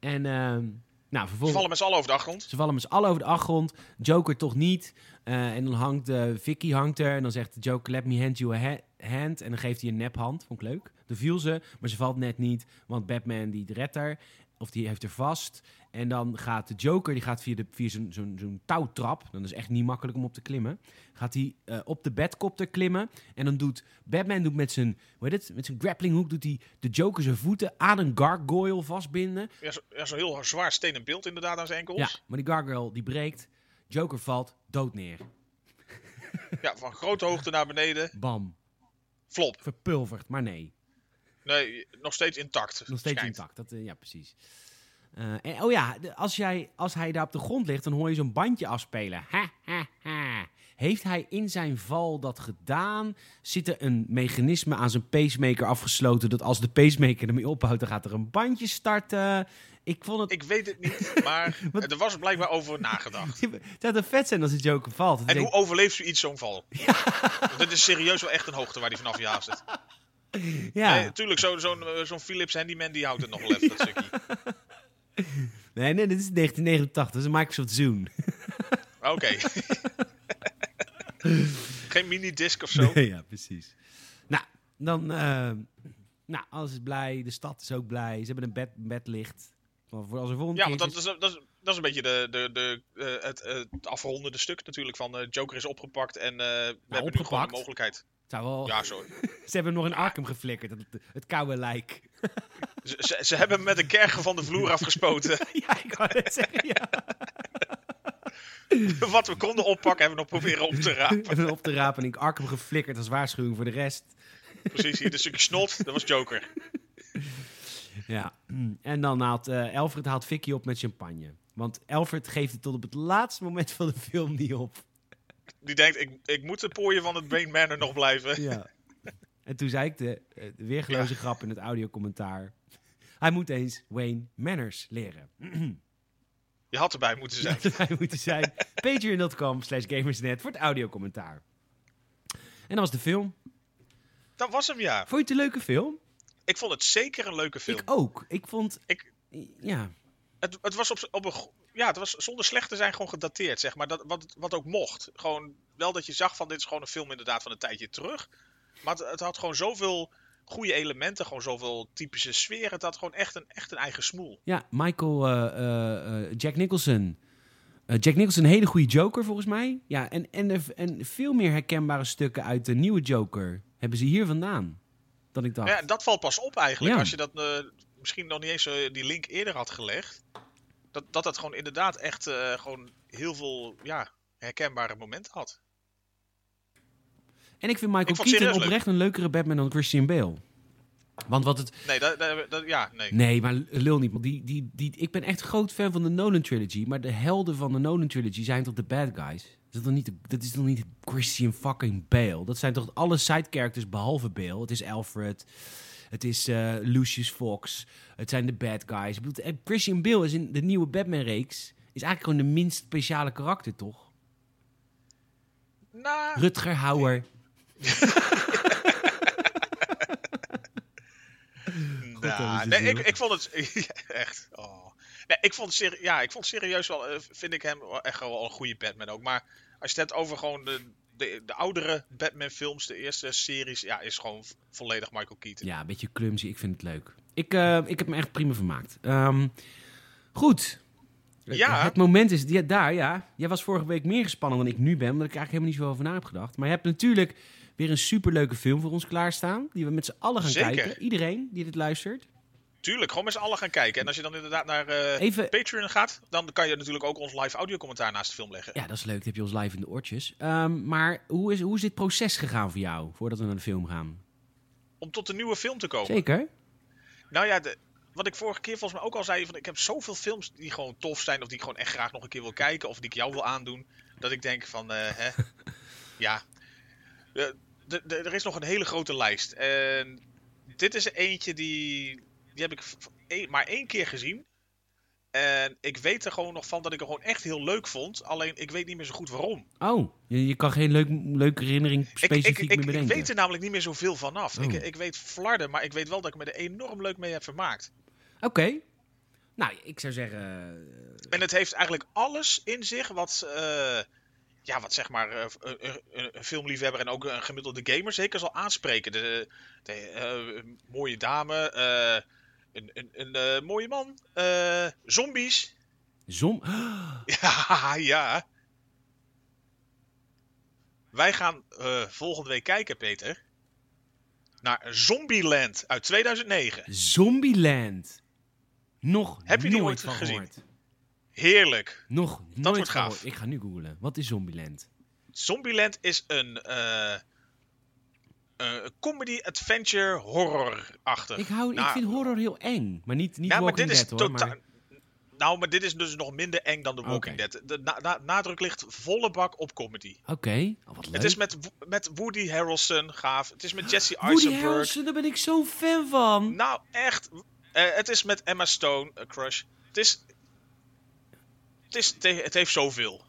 En, ehm, nou, Ze vervolgens... vallen met z'n allen over de achtergrond. Ze vallen met z'n allen over de achtergrond. Joker toch niet. Eh, en dan hangt eh, Vicky hangt er. En dan zegt Joker, let me hand you a ha- hand. En dan geeft hij een nephand. Vond ik leuk. Dan viel ze, maar ze valt net niet. Want Batman die redt haar. Of die heeft haar vast. En dan gaat de Joker, die gaat via, de- via zo'n zo'n zo'n touwtrap. Dan is echt niet makkelijk om op te klimmen. Gaat hij eh, op de bedkopter klimmen. En dan doet Batman doet met zijn, hoe heet het, met zijn grapplinghoek... doet hij de Joker zijn voeten aan een gargoyle vastbinden. Ja, zo- ja, zo'n heel zwaar stenen beeld inderdaad aan zijn Ja, enkels. maar die gargoyle die breekt. Joker valt dood neer. Ja. van grote hoogte naar beneden. Bam. Flop. Verpulverd, maar nee. Nee, nog steeds intact. Nog steeds schijnt. intact. Dat, eh, ja, precies. Eh, en, oh ja, de- als, jij, als hij daar op de grond ligt, dan hoor je zo'n bandje afspelen. Ha, ha, ha. Heeft hij in zijn val dat gedaan? Zit er een mechanisme aan zijn pacemaker afgesloten dat als de pacemaker ermee ophoudt, dan gaat er een bandje starten? Ik vond het... Ik weet het niet, maar *laughs* Wat- er was blijkbaar *laughs* over nagedacht. Het zou toch vet zijn als de Joker valt. Dat En je hoe denkt, overleeft u iets zo'n val? Want Dit is serieus wel echt een hoogte waar die vanaf je haast zit. ja. Nee, tuurlijk, zo- zo'n eh, zo'n Philips Handyman die houdt het nog wel even, dat stukje. Nee, nee, dit is 1989. Dat is een Microsoft Zoom. Oké. Geen minidisc of zo. *laughs* Nee, ja, precies. Nou, dan... eh, nou, alles is blij. De stad is ook blij. Ze hebben een bed, bedlicht. Maar voor als er volgende Ja, keer want dat is- is, dat is, dat is een beetje de, de, de, eh, het, eh, het afrondende stuk natuurlijk van eh, Joker is opgepakt en eh, we hebben nu gewoon Nou, opgepakt? de mogelijkheid. zou wel... Ja, sorry. Ze hebben hem nog in Arkham geflikkerd. Het, het koude lijk. *laughs* Ze, ze, ze hebben hem met een kergen van de vloer afgespoten. *laughs* ja, ik wou net zeggen, ja. Wat we konden oppakken hebben we nog proberen op te *laughs* rapen. Even op te rapen en ik Arkham geflikkerd als waarschuwing voor de rest. Precies, hier een stukje snot, dat was Joker. Ja. *clears throat* En dan haalt eh Alfred haalt Vicky op met champagne. Want Alfred geeft het tot op het laatste moment van de film niet op. Die denkt, ik, ik moet de pooien van het Brain Manor nog blijven. Ja. En toen zei ik de, eh, de weergeloze grap in het audiocommentaar. Hij moet eens Wayne Manners leren. Je had erbij moeten zijn. Dat *laughs* hij moet zijn. Patreon.com slash gamersnet voor het audiocommentaar. En dat was de film. Dat was hem, ja. Vond je het een leuke film? Ik vond het zeker een leuke film. Ik ook. Ik vond... Ik- Ja. Het, het was op, z'n- op een... go- Ja, het was zonder slecht te zijn gewoon gedateerd, zeg maar. Dat, wat, wat ook mocht. Gewoon wel dat je zag van, dit is gewoon een film inderdaad van een tijdje terug. Maar het, het had gewoon zoveel goede elementen. Gewoon zoveel typische sfeer. Het had gewoon echt een, echt een eigen smoel. Ja, Michael... eh, eh, eh, Jack Nicholson. Eh, Jack Nicholson, een hele goede Joker volgens mij. Ja, en, en, er- en veel meer herkenbare stukken uit de nieuwe Joker... hebben ze hier vandaan. Dan ik dacht. Ja, dat valt pas op eigenlijk. Ja. Als je dat eh, misschien nog niet eens eh, die link eerder had gelegd. Dat dat, dat gewoon inderdaad echt eh, gewoon heel veel ja, herkenbare momenten had. En ik vind Michael Ik vond Keaton serieus leuk. oprecht een leukere Batman dan Christian Bale. Want wat het... Nee, dat, dat, dat- ja, nee. Nee, maar lul niet. want Die, die, die, ik ben echt groot fan van de Nolan-trilogy. Maar de helden van de Nolan-trilogy zijn toch de bad guys? Is dat, toch niet, de- dat is toch niet Christian fucking Bale? Dat zijn toch alle side-characters behalve Bale? Het is Alfred. Het is eh, Lucius Fox. Het zijn de bad guys. Ik bedoel, eh, Christian Bale is in de nieuwe Batman-reeks... is eigenlijk gewoon de minst speciale karakter, toch? Nou, Rutger Hauer. nou, dat is het nee, weer. ik, ik vond het *laughs* ja, echt. Oh. Nee, ik vond seri- ja, ik vond serieus wel. eh, vind ik hem wel echt wel een goede Batman ook. Maar als je het hebt over gewoon de, de, de oudere Batman-films, de eerste series, ja, is gewoon v- volledig Michael Keaton. Ja, een beetje clumsy. Ik vind het leuk. Ik, eh, ik heb me echt prima vermaakt. Ehm, goed. Ja. Het moment is ja, daar, ja. Jij was vorige week meer gespannen dan ik nu ben, omdat ik eigenlijk helemaal niet zo over na heb gedacht. Maar je hebt natuurlijk weer een superleuke film voor ons klaarstaan, die we met z'n allen gaan Zeker. kijken. Iedereen die dit luistert. Tuurlijk, gewoon met z'n allen gaan kijken. En als je dan inderdaad naar eh, Even, Patreon gaat, dan kan je natuurlijk ook ons live audiocommentaar naast de film leggen. ja, dat is leuk. Dan heb je ons live in de oortjes. Ehm, maar hoe is, hoe is dit proces gegaan voor jou, voordat we naar de film gaan? Om tot een nieuwe film te komen. Zeker? Nou ja, de- wat ik vorige keer volgens mij ook al zei, van, ik heb zoveel films die gewoon tof zijn, of die ik gewoon echt graag nog een keer wil kijken, of die ik jou wil aandoen, dat ik denk van, eh, *laughs* hè, ja, Eh, de- de- er is nog een hele grote lijst. En dit is er eentje die, die heb ik v- één- maar één keer gezien. En ik weet er gewoon nog van dat ik er gewoon echt heel leuk vond, alleen ik weet niet meer zo goed waarom. Oh, je, je kan geen leuk, leuke herinnering Ik, ik, specifiek ik, ik, meer bedenken. weet er namelijk niet meer zoveel vanaf. Oh. Ik, ik weet flarden, maar ik weet wel dat ik me er enorm leuk mee heb vermaakt. Oké. Nou, ik zou zeggen... eh, En het heeft eigenlijk alles in zich wat, eh, ja, wat zeg maar, eh, een, een- een filmliefhebber en ook een gemiddelde gamer zeker zal aanspreken. De, de, eh, een mooie dame, eh, een, een, een eh, mooie man, eh, zombies. *laughs* Zom... *gasps* Ja, ja. Wij gaan eh, volgende week kijken, Peter, naar Zombieland uit 2009. Zombieland. Nog Heb je die nooit ooit van gezien? gehoord. Heerlijk. Nog nooit wordt van gaaf. gehoord. Ik ga nu googlen. Wat is Zombieland? Zombieland is een eh, eh, comedy adventure horror achtig. Ik, hou, Nou, ik vind horror heel eng. Maar niet, niet ja, maar Walking dit is Dead hoor. totaal. Maar... Nou, maar dit is dus nog minder eng dan The Walking Oké. Dead. De na- na- nadruk ligt volle bak op comedy. Oké. Oh, wat leuk. Het is met, Wo- met Woody Harrelson gaaf. *gasps* Het is met Jesse Woody Eisenberg. Harrelson, daar ben ik zo fan van. nou, echt. Eh, het is met Emma Stone, eh, Crush. Het is. Het, is, het he- het heeft zoveel.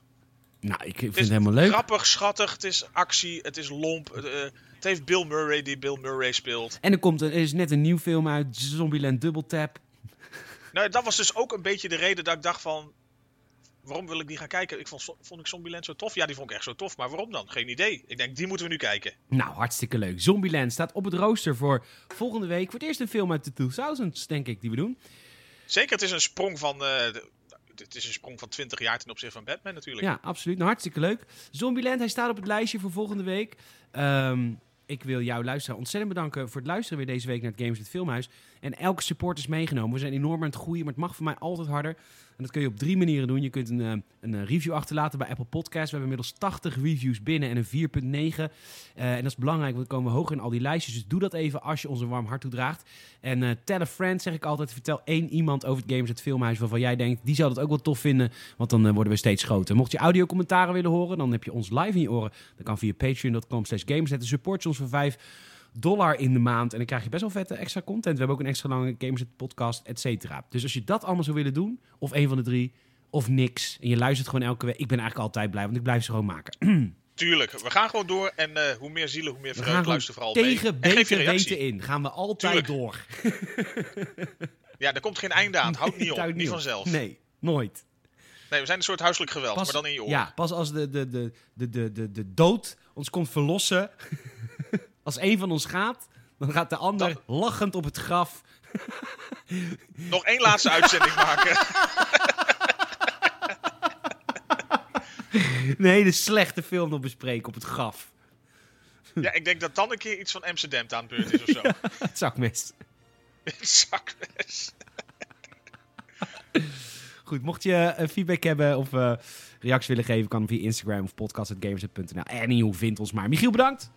Nou, ik vind Het het is helemaal leuk. grappig, schattig. Het is actie. Het is lomp. eh, eh, het heeft Bill Murray die Bill Murray speelt. En er, komt een, er is net een nieuw film uit, Zombieland Double Tap. Nou, dat was dus ook een beetje de reden dat ik dacht van... Waarom wil ik die gaan kijken? Ik vond, zo- vond ik Zombieland zo tof? Ja, die vond ik echt zo tof. Maar waarom dan? Geen idee. Ik denk, die moeten we nu kijken. Nou, hartstikke leuk. Zombieland staat op het rooster voor volgende week. Voor het eerst een film uit de 2000s, denk ik, die we doen. Zeker, het is een sprong van... eh, de- het is een sprong van 20 jaar ten opzichte van Batman natuurlijk. Ja, absoluut. Nou, hartstikke leuk. Zombieland, hij staat op het lijstje voor volgende week. Ehm, ik wil jou luisteraar ontzettend bedanken voor het luisteren weer deze week naar het Games het Filmhuis. En elke support is meegenomen. We zijn enorm aan het groeien, maar het mag voor mij altijd harder. En dat kun je op drie manieren doen. Je kunt een, eh, een eh, review achterlaten bij Apple Podcasts. We hebben inmiddels 80 reviews binnen en een 4.9. Eh, en dat is belangrijk, want dan komen we hoger in al die lijstjes. Dus doe dat even als je ons een warm hart toedraagt. En eh, tell a friend, zeg ik altijd. Vertel één iemand over het Games het Filmhuis waarvan jij denkt... die zou dat ook wel tof vinden, want dan eh, worden we steeds groter. Mocht je audiocommentaren willen horen, dan heb je ons live in je oren. Dat kan via patreon.com slash gameset. Support je ons voor 5 dollar in de maand. En dan krijg je best wel vette extra content. We hebben ook een extra lange Gameset podcast, et cetera. Dus als je dat allemaal zou willen doen, of één van de drie... Of niks. En je luistert gewoon elke week. Ik ben eigenlijk altijd blij, want ik blijf ze gewoon maken. Tuurlijk, we gaan gewoon door. En eh, hoe meer zielen, hoe meer We vreugde. gaan Luister gewoon vooral tegen mee. En geef je beter reactie. weten in. Gaan we altijd Tuurlijk. door. Ja, daar komt geen einde aan. Het houdt niet *laughs* Het op. houdt niet vanzelf. Nee. Nee, nooit. we zijn een soort huiselijk geweld, maar dan in je oor. Ja, pas als de, de, de, de, de, de, de dood ons komt verlossen. *laughs* als een van ons gaat, dan gaat de ander lachend op het graf. Nog één laatste *laughs* uitzending maken. een hele slechte film nog bespreken op het graf. *laughs* Ja, ik denk dat dan een keer iets van Amsterdam aan de beurt is of zo. *laughs* Het zakmes. Zakmes. Goed, mocht je eh, feedback hebben of eh reacties willen geven, kan via Instagram of podcast.gamers.nl. En hoe vindt ons maar. Michiel, bedankt.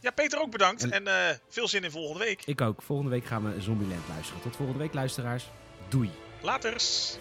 Ja, Peter ook bedankt. En eh, veel zin in volgende week. Ik ook. Volgende week gaan we Zombieland luisteren. Tot volgende week, luisteraars. Doei. Laters.